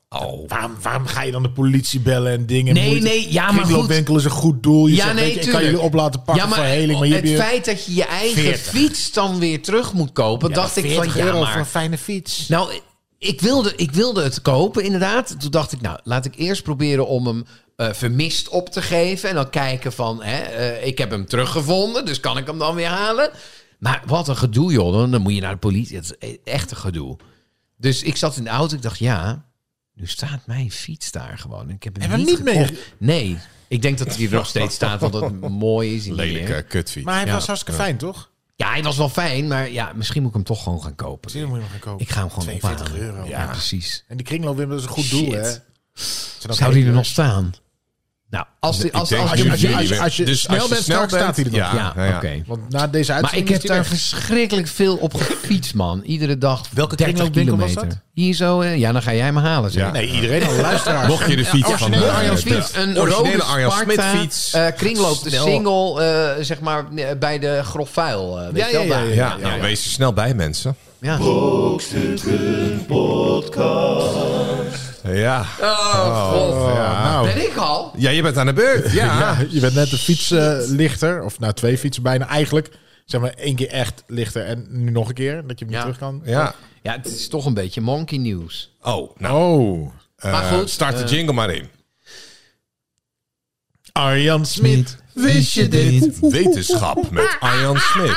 Waarom, waarom ga je dan de politie bellen en dingen?
Nee, nee, ja, maar goed.
Kringloopwinkel is een goed doel. Je
Ja,
zegt,
nee,
weet je, ik kan
tuurlijk.
jullie op laten pakken voor heling, maar je
het
hebt je...
feit dat je je eigen
40.
fiets dan weer terug moet kopen, dacht ik van ja, maar...
fijne fiets.
Nou, ik wilde, ik wilde het kopen inderdaad. Toen dacht ik, nou, laat ik eerst proberen om hem eh, vermist op te geven. En dan kijken van, hè, eh, ik heb hem teruggevonden, dus kan ik hem dan weer halen? Maar wat een gedoe, joh. Dan, dan moet je naar de politie. Het is e- echt een gedoe. Dus ik zat in de auto, ik dacht, ja, nu staat mijn fiets daar gewoon. Ik heb hem
Hebben we
niet,
hem niet
gekocht. Nee, ik denk dat hij er nog steeds staat, want dat mooi is. hij niet meer.
Lelijke kutfiets.
Maar hij
Ja.
was hartstikke fijn, toch?
Ja, hij was wel fijn, maar ja, misschien moet ik hem toch gewoon gaan kopen.
Misschien moet je hem gaan kopen.
Ik ga hem gewoon
42
ophalen.
euro.
ja precies.
En die kringloopwinkel is een goed
Shit.
doel, hè? Zijn dat
Zou die
hele-
er nog staan? Nou, als, die, als,
ik
als,
denk
je-
nu
als je-
jullie
als je-
weer- dus
als je snel bent, straks staat hij er nog.
Ja,
ja,
nou ja.
oké.
Want na deze
Maar ik
uitzending
heb
is die
daar
weg.
verschrikkelijk veel op gefietst, man. Iedere dag
Welke
30
kringloopwinkel was
kilometer.
dat?
Hier zo, eh, ja, dan ga jij me halen. Zeg.
Ja.
Nee, iedereen al luisteraars.
Mocht je de fiets
Ja,
van
originele
eh,
Arjan
de-
Smit.
Een
originele
rode
Arjan Smit
Sparta,
fiets.
eh, kringloop de
Snel.
single, eh, zeg maar, eh, bij de grof vuil. eh, weet
Ja,
je wel,
ja, ja,
daar. Oh,
Ja, nou, wees er snel bij, mensen.
Ja.
Ja.
Oh, god.
Nou,
Ben ik al?
Ja, je bent aan de beurt. Ja.
ja, je bent net een fiets eh, lichter. Of nou, twee fietsen bijna. Eigenlijk zeg maar één keer echt lichter. En nu nog een keer, dat je hem
Ja.
niet terug kan.
Ja.
Ja, het is toch een beetje monkey nieuws.
Oh, nou.
Oh.
Maar
eh,
goed,
start de jingle maar in.
Arjan Smit.
Wist je dit?
Wetenschap met Arjan Smit.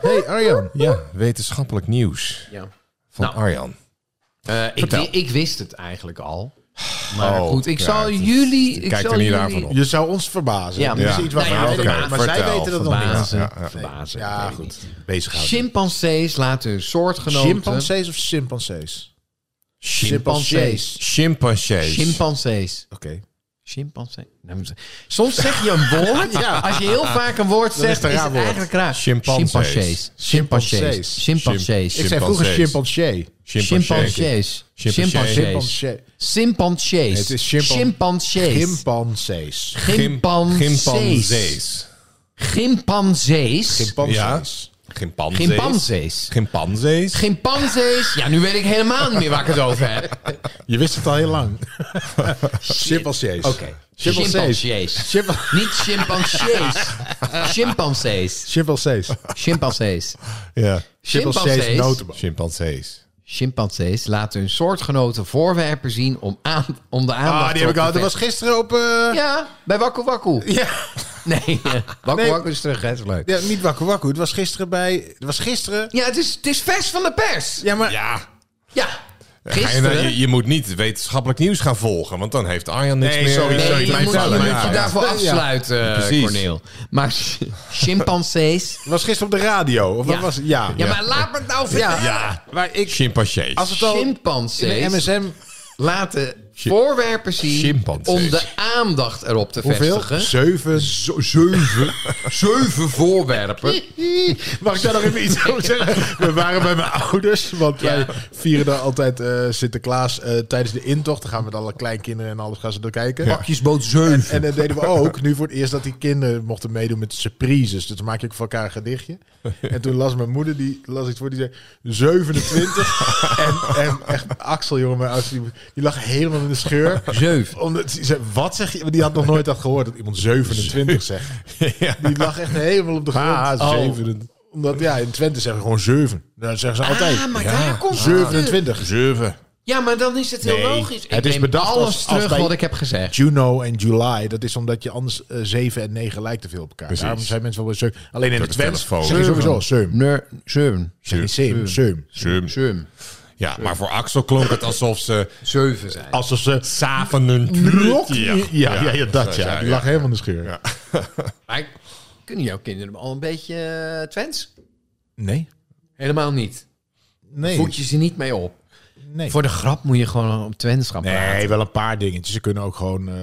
Hey Arjan.
Ja, wetenschappelijk nieuws
Ja.
van
Nou.
Arjan.
Eh, ik,
Vertel.
wi- ik wist het eigenlijk al. Maar
Oh,
goed, ik
ja,
zal
het is-
jullie...
het
Ik
kijkt
zal
er niet
jullie,
raar van op.
Je zou ons verbazen.
Ja,
Dit is
ja.
iets wat
Nou
wij
ja,
weten,
oké,
maar zij
vertel,
weten dat nog niet.
Verbazen,
Ja, ja, ja.
verbazen.
Ja,
weet ik
goed.
niet.
Bezighouden.
Chimpansees laten hun soortgenoten...
Chimpansees of chimpansees?
Chimpansees.
Chimpansees.
Chimpansees.
Oké.
Chimpansee. Nou, moet ik zeggen. Soms zeg je een woord.
Ja.
Als je heel vaak een woord
Dan is
zegt,
het
is,
een raar
het
woord.
eigenlijk raar.
Chimpansees.
Chimpansees. Chimpansees.
Chimpansees.
Chimpansees.
Ik zei vroeger
Chimpansees.
chimpansee.
Chimpansees.
Chimpansees. Chimpansees.
Chimpansee.
Chimpansees.
Het is chimpan-
Chimpansees.
Chimpansees.
Chimpansees.
Chimpansees.
Chimpansees.
Ja.
Chimpansees.
Chimpansees.
Chimpansees.
Chimpansees.
Chimpansees. Ja, nu weet ik helemaal niet meer waar ik het over heb.
Je wist het al heel lang. Chimpansees.
Oké.
Chimpansees.
Chimpansees.
Chimpa-
Niet chimpansees. Chimpansees.
Chimpansees.
Chimpansees.
Ja.
Chimpansees
Chimpansees.
notenboom.
Chimpansees.
Chimpansees laten hun soortgenoten voorwerpen zien om, aan, om de aandacht
Ah, die heb ik
op
al.
te
Dat was
vesten.
gisteren op... eh,
Ja, bij Wakku Wakku.
Ja.
Nee, eh, Wakku
Nee.
Wakku is terug, hè, is leuk.
Ja, niet wakku wakku. Het was gisteren bij... Het was gisteren...
Ja, het is, het is vers van de pers.
Ja, maar...
Ja.
Ja,
En, eh,
gisteren.
Je, je moet niet wetenschappelijk nieuws gaan volgen, want dan heeft Arjan niks
Nee,
meer.
sorry,
eh,
Nee,
sorry,
te
je
mijn
moet, je
vertellen.
moet
fout.
je
Ja, ja.
daarvoor
Ja.
afsluiten, eh,
Precies.
Corneel. Maar chimpansees...
Het was gisteren op de radio. Of wat
Ja.
was... Ja.
Ja, maar laat me het nou vertellen.
Ja.
Maar ik...
Chimpansees.
Als het al...
Chimpansees
In de MSM...
laten voorwerpen zien
Chimpansees.
om de aandacht erop te
Hoeveel?
vestigen.
Zeven. Zeven.
Zeven voorwerpen.
Mag ik daar nog even iets over zeggen? We waren bij mijn ouders, want wij vieren daar altijd eh, Sinterklaas eh, tijdens de intocht. Dan gaan we met alle kleinkinderen en alles gaan ze door kijken.
Pakjesboot 7.
En dat deden we ook. Nu voor het eerst dat die kinderen mochten meedoen met surprises. Dus dan maak ik voor elkaar een gedichtje. En toen las mijn moeder, die las iets voor, die zei 27. en, en echt Axel, jongen, mijn oudste, die, die lag helemaal in de scheur.
Zeven.
Omdat die zei, wat zeg je? Want Die had nog nooit dat gehoord, dat iemand 27 zegt. Die lag echt helemaal op de grond.
Oh.
Omdat, ja, in Twente zeggen we gewoon 7. Dat zeggen ze altijd.
Ah, maar daar komt het.
27.
Zeven.
Ja, maar dan is het heel
Nee,
logisch. Ik
het is
neem
bedacht
alles
als- als
terug
bij-
wat ik heb gezegd.
Juno en July, dat is omdat je anders eh, 7 en 9 lijkt te veel op elkaar. Daarom zijn mensen wel weer zeven. Alleen in
Door
het
de
Twents
telefoon.
zeg je sowieso 7.
Nee, zeven.
Zeum, zeum.
Zeum.
Zeven.
Ja, maar voor Axel klonk het alsof ze
Zeven zijn.
Alsof ze...
samen een
Blok-
Ja,
Ja, ja, ja, dat ja. Die lag helemaal in de scheur.
Maar kunnen jouw kinderen al een beetje eh, Twents?
Nee.
Helemaal niet.
Nee.
Voed je ze niet mee op.
nee.
Voor de grap moet je gewoon op Twents gaan praten.
Nee, wel een paar dingetjes. Ze kunnen ook gewoon eh,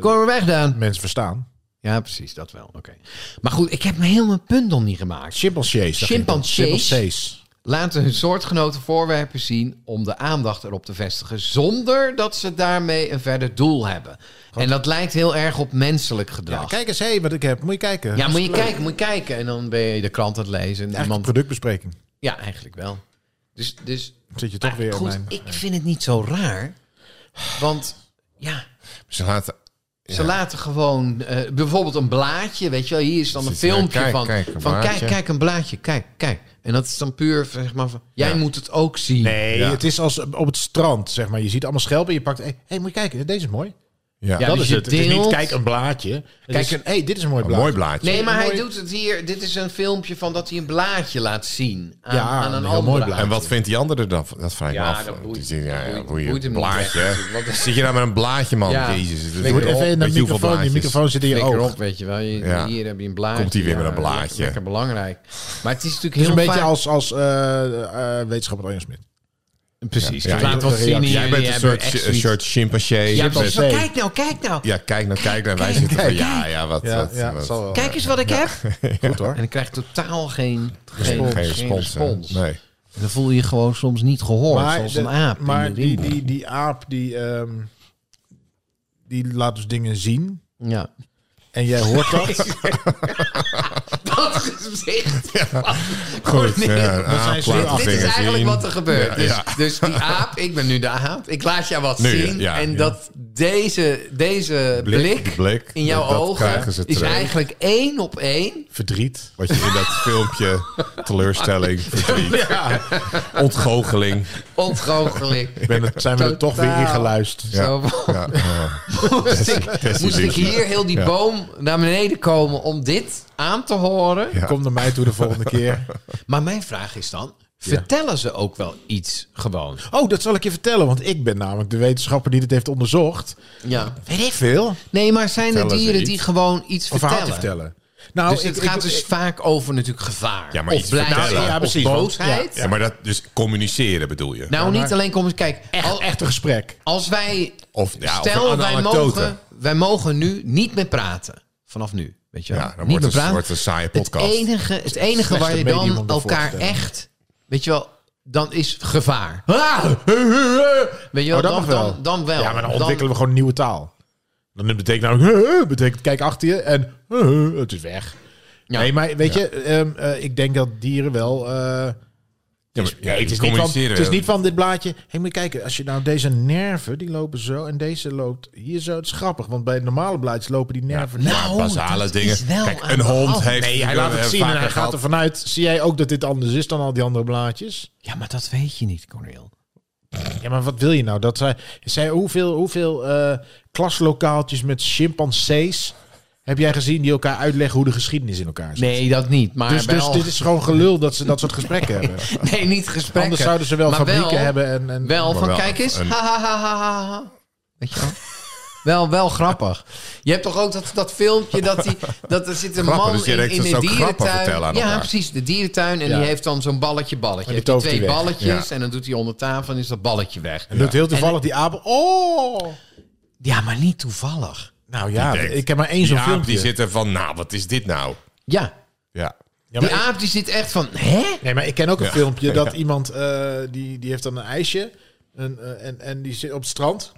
Kom maar weg dan.
mensen verstaan.
Ja, precies, dat wel. Oké. Maar goed, ik heb me helemaal een punt nog niet gemaakt.
Chimpansees. dacht ik.
Chimpansees.
Chimpansees.
Laten hun soortgenoten voorwerpen zien om de aandacht erop te vestigen, zonder dat ze daarmee een verder doel hebben. En dat lijkt heel erg op menselijk
Ja,
gedrag. Ja,
kijk eens, hé, wat ik heb. Moet je kijken.
moet je kijken, moet je kijken. En dan ben je de krant aan het lezen. En
Eigenlijk
iemand...
productbespreking.
Ja, eigenlijk wel. Dus, dus
Dan zit je toch
Ah,
weer
goed,
op mijn...
ik vind het niet zo raar. Want ja,
Ze laten...
Ze laten gewoon eh, bijvoorbeeld een blaadje, weet je wel, hier is dan een
Zit er,
filmpje
kijk,
van.
kijk, een
van kijk,
blaadje.
kijk, een blaadje, kijk, kijk. En dat is dan puur, zeg maar, van, jij
Ja.
moet het ook zien.
Nee,
Ja.
het is als op het strand, zeg maar. Je ziet allemaal schelpen, je pakt... Hé, hey, moet je kijken, deze is mooi.
Ja,
Ja,
dat
dus
is
je
het. Het is niet,
deelt-
kijk, een blaadje. Het
Kijk,
is, hey, dit is een mooi
een
blaadje.
mooi blaadje.
Nee, maar hij
Mooi.
doet het hier. Dit is een filmpje van dat hij een blaadje laat zien. Aan,
Ja,
aan een,
een heel
ander
mooi
En wat vindt die andere dan? Dat vraag ik
Ja,
me af.
dat boeit-
Die zegt, ja, ja,
boeit-
boeien,
boeit hem niet
blaadje.
echt.
hè?
Want-
Zit je nou met een blaadje, man?
Ja.
Jezus. het is-
Je
Je moet even in de
Weet je hoeveel
microfoon. Die
blaadjes?
microfoon zit in je
Flikker
oog.
op, weet je wel. Je-
Ja.
Hier heb je een blaadje.
Komt hij weer met een
Ja,
blaadje.
lekker- Lekker belangrijk. Maar het is natuurlijk
Het is
heel
een beetje
vaak-
als, als eh eh, wetenschapper Arjan Smit.
Precies.
Ja,
Ja,
ja,
laat wat zien hier.
Jij bent
die
een
hebben
soort,
echt
een
zoiets-
soort chimpansee.
Ja,
met-
precies.
Nee.
Kijk nou, kijk nou.
Ja, kijk nou, kijk nou. Wij zitten van,
kijk,
ja, ja, wat...
Ja,
wat-
ja,
wat-
zal wel.
Kijk eens wat ik heb.
Goed hoor.
En ik krijg totaal geen, geen,
geen,
geen
respons. hè?
respons.
Nee.
Dan voel je je gewoon soms niet gehoord, zoals
de-
een aap. in
maar
de
die,
wiel.
die, die aap, die, ehm, die laat dus dingen zien.
Ja.
En jij hoort dat.
Dat gezicht.
Goed.
Oh, nee,
ja, een
dat zijn
aap laat
ze niet.
de
Dit is
vingers
eigenlijk
zien.
wat er gebeurt.
Ja,
dus,
ja.
dus die aap, ik ben nu de aap. Ik laat jou wat
Nu,
zien.
ja,
en
ja.
dat deze, deze blik,
Die blik,
in jouw
dat- dat krijgen ze
ogen is
terug.
eigenlijk één op één.
Verdriet.
Wat je in dat filmpje... Teleurstelling, verdriet,
Ja.
ontgoocheling.
Ontgoocheling.
Ben het, zijn we er toch weer
Totaal.
ingeluisterd.
Zo
Ja, ja.
moest ik,
Tessie
moest ik
Dixie.
hier heel die
Ja.
boom naar beneden komen om dit aan te horen.
Ja.
Kom naar mij toe de volgende keer.
Maar mijn vraag is dan, vertellen ze ook wel iets gewoon?
Oh, dat zal ik je vertellen, want ik ben namelijk de wetenschapper die dit heeft onderzocht.
Ja.
Weet ik veel.
Nee, maar zijn er
Vertellen ze
dieren
iets?
die gewoon iets
Of verhaal te
vertellen?
vertellen. Nou,
dus
ik-
het
ik-
gaat
ik-
dus vaak over natuurlijk gevaar.
Ja, maar
of
iets vertellen.
blijdschap,
Ja,
of
Nou, precies, want-
boosheid.
Ja, maar dat, dus communiceren bedoel je?
Nou,
maar-
niet alleen kom eens kijk. al-
echt een gesprek.
Als wij
Of, ja, of
Stel,
een
wij
anekdote.
mogen, wij mogen nu niet meer praten. Vanaf nu, weet je wel.
Ja, dan
Niet
wordt
meer
het,
praten.
wordt
eh,
een saaie podcast.
Het enige, het enige
slechtste
waar je
medium
dan
om dat voor te
elkaar
stellen.
echt... Weet je wel, dan is gevaar. Ah! Weet je wel,
Oh, dat
dan,
mag wel.
Dan, dan wel.
Ja, maar dan ontwikkelen we gewoon een nieuwe taal. Dan betekent namelijk, "Huh, huh," betekent kijk achter je en "Huh, huh," het is weg.
Ja.
Nee, maar weet je, ehm, eh, ik denk dat dieren wel... eh,
Ja, maar-
is-
ja,
het,
die
is niet van,
communiceren.
het is niet van dit blaadje. Hé, moet je kijken, als je nou deze nerven, die lopen zo en deze loopt hier zo. Het is grappig, want bij normale blaadjes lopen die nerven...
Ja,
Nou,
basale
dat
dingen.
is wel
Kijk,
aan
een
de
hond
hand.
heeft...
Nee, hij laat het
eh,
zien en
vaker
hij gaat
gehad.
ervan uit. Zie jij ook dat dit anders is dan al die andere blaadjes?
Ja, maar dat weet je niet, Cornel.
Ja, maar wat wil je nou? Dat zij, zij hoeveel, hoeveel eh, klaslokaaltjes met chimpansees heb jij gezien die elkaar uitleggen hoe de geschiedenis in elkaar zit?
Nee, dat niet. Maar
Dus, dus
wel...
dit is gewoon gelul dat ze dat soort gesprekken hebben.
Nee, niet gesprekken.
Anders zouden ze wel
maar
fabrieken
wel-
hebben. En, en,
Wel
Maar
van,
wel
kijk eens.
een-
Ha, ha, ha, ha, ha, ha. Weet je wel? wel, wel grappig. Je hebt toch ook dat, dat filmpje dat, die, dat er zit een
Grappig,
man
dus je
in,
denkt
in
dat ze
de
ook grappen
dierentuin.
vertellen aan
ja,
elkaar.
precies. De dierentuin. En
Ja.
die heeft dan zo'n balletje, balletje.
die
Heeft die
tovert
twee
hij weg.
balletjes.
Ja.
En dan doet hij ondertafel en is dat balletje weg.
En doet heel toevallig die apen. Oh!
Ja, maar niet toevallig.
Nou ja,
denkt,
ik heb maar één zo'n
Die aap
filmpje.
die zit er van, nou, wat is dit nou?
Ja.
Ja.
Ja, maar
Die aap die zit echt van, hè?
Nee, maar ik ken ook een
Ja.
filmpje
Ja.
dat iemand eh, die, die heeft dan een ijsje en, eh, en, en die zit op het strand.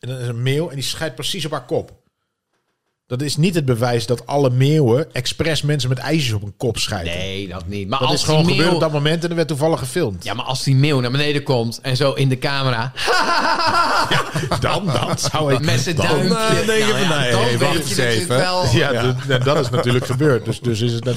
En dan is een meeuw en die scheidt precies op haar kop. Dat is niet het bewijs dat alle meeuwen expres mensen met ijsjes op hun kop scheiden.
Nee, dat niet. Maar
dat
als
is gewoon
die meeuw-
gebeurd op dat moment en er werd toevallig gefilmd.
Ja, maar als die meeuw naar beneden komt en zo in de camera...
dan, eh, dan zou ik...
Met zijn duimpje.
eh, denk je
Nou
van,
ja,
nee,
dan
hey,
weet
wacht
je
eens
natuurlijk
even.
wel-
Ja, d- en dat is natuurlijk gebeurd. Dus, dus is het dan...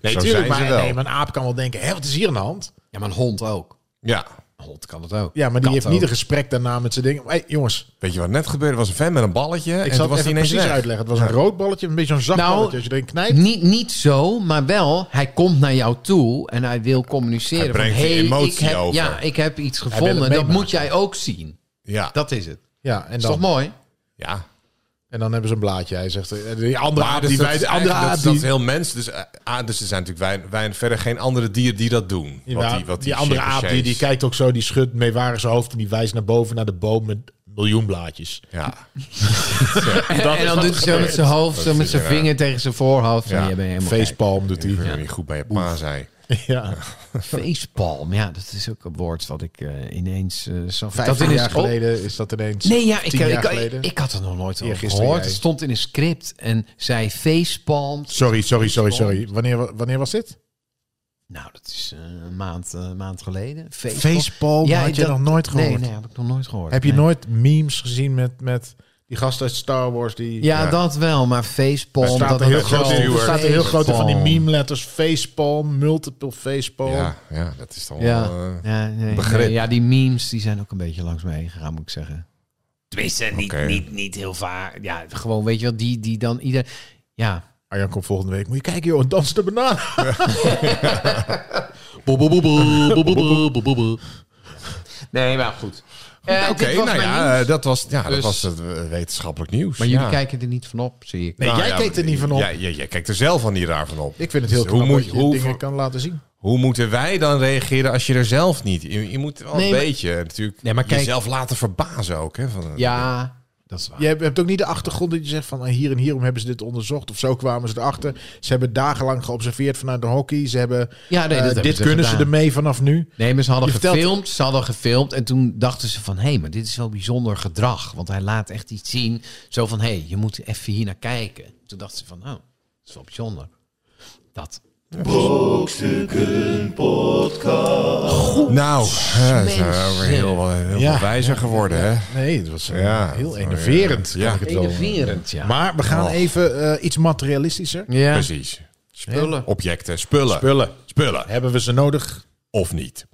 Nee,
Zo
tuurlijk,
zijn ze
maar,
wel.
nee, maar een aap kan wel denken, hé, wat is hier aan de hand?
Ja, maar een hond ook.
Ja.
Een hond kan het ook.
Ja, maar die
Kat
heeft
ook.
niet een gesprek daarna met zijn ding. Hé, jongens,
Weet je wat net gebeurde? Er was een fan met een balletje
Ik
en
zal
toen was
het
hij
even
ineens
precies
weg.
uitleggen. Het was een rood balletje, een beetje een zacht
Nou,
balletje. Als je erin knijpt,
Niet, niet zo, maar wel, hij komt naar jou toe en hij wil communiceren.
Hij brengt
van,
die
hey, ik
emotie
heb,
over.
Ja, ik heb iets
wil het
gevonden. Dat
meemaken.
moet jij ook zien.
Ja.
Dat is het.
ja, en
Is toch
dan,
mooi?
ja.
en dan hebben ze een blaadje. Hij zegt, eh, die andere
Maar
aap,
dus
die
dat
wij,
is
de andere
eigenlijk- dat
aap,
is- dat is
die,
heel mens. Dus, eh, ah, dus er zijn natuurlijk weinig, weinig- verder geen andere dieren die dat doen.
Ja,
wat die, wat die,
die andere aap, die, die
chimpansees.
kijkt ook zo, die schudt meewarig zijn hoofd en die wijst naar boven naar de boom met miljoen blaadjes.
Ja.
en dan doet hij zo met zijn hoofd, zo
Dat
met
is
zijn
inderdaad.
vinger tegen zijn voorhoofd.
Ja,
Ja, je bent helemaal gek.
Facepalm doet
Ik
hij.
weet niet goed bij je pa zei.
Ja.
Facepalm. Ja, dat is ook een woord wat ik eh, ineens eh zag.
Vijftien
dat
jaar
ineens op-
geleden is dat ineens.
Nee, ja, ik,
Tien jaar
ik, ik,
geleden.
ik had er nog nooit over
Eergisteren
gehoord.
jij.
Het stond in een script en zei facepalm.
Sorry, sorry, sorry, sorry. Wanneer, wa- wanneer was dit?
Nou, dat is eh, een maand, eh, een maand geleden.
Facepalm Oh, had je nog nooit
Nee,
gehoord?
nee, heb ik nog nooit gehoord.
Heb je
Nee.
nooit memes gezien met, met die gast uit Star Wars die...
Ja,
Ja.
dat wel, maar facepalm...
Er staat
dat
een heel
ook
grote,
wel.
er staat een heel grote van die
Facepalm.
meme letters. Facepalm, multiple facepalm.
Ja, ja, dat is dan
Ja,
wel... eh,
ja, nee,
begrip.
nee, ja, die memes die zijn ook een beetje langs me heen gegaan, moet ik zeggen. Tenminste, niet,
Oké.
niet, niet heel vaak. Ja, gewoon, weet je wel, die, die dan ieder... Ja.
Arjan komt volgende week. Moet je kijken joh, een dansende banaan.
Nee, maar goed.
Oké, nou ja, eh, dat was, ja, dat
Dus-
was het eh, wetenschappelijk nieuws.
Maar jullie
ja.
kijken er niet van op, zie ik.
Nou
Nee, jij kijkt er niet van op.
Ja, jij, jij kijkt er zelf al niet raar van op. Dus
Ik vind het heel knap
hoe moet
dat
je,
je
hoe,
dingen kan laten zien.
Hoe moeten wij dan reageren als je er zelf niet... Je, je moet wel
Nee,
een
maar-
beetje natuurlijk
Nee, maar kijk-
jezelf laten verbazen ook. Hè, van,
Ja, dat is waar.
Je hebt, hebt ook niet de achtergrond dat je zegt van eh, hier en hierom hebben ze dit onderzocht of zo kwamen ze erachter. Ze hebben dagenlang geobserveerd vanuit de hockey. Ze hebben
Ja, nee, dat
eh,
hebben
dit
ze dus
kunnen ze
gedaan.
ermee vanaf nu.
Nee, maar ze hadden
Je vertelt-
gefilmd. Ze hadden gefilmd. En toen dachten ze van... Hé, maar dit is wel bijzonder gedrag. Want hij laat echt iets zien. Zo van... Hé, je moet even hier naar kijken. Toen dachten ze van... Oh, dat is wel bijzonder. Dat.
Nou, ja, ze zijn wel weer heel, heel veel
Ja.
wijzer geworden. Hè?
Nee, het was eh,
Ja.
heel enerverend.
Ja.
kan ik het wel noemen.
Enerverend, ja.
Maar we gaan
Oh.
even eh, iets materialistischer.
ja.
Precies.
Spullen.
Objecten, spullen.
Spullen.
Spullen.
Hebben we ze nodig?
Of niet.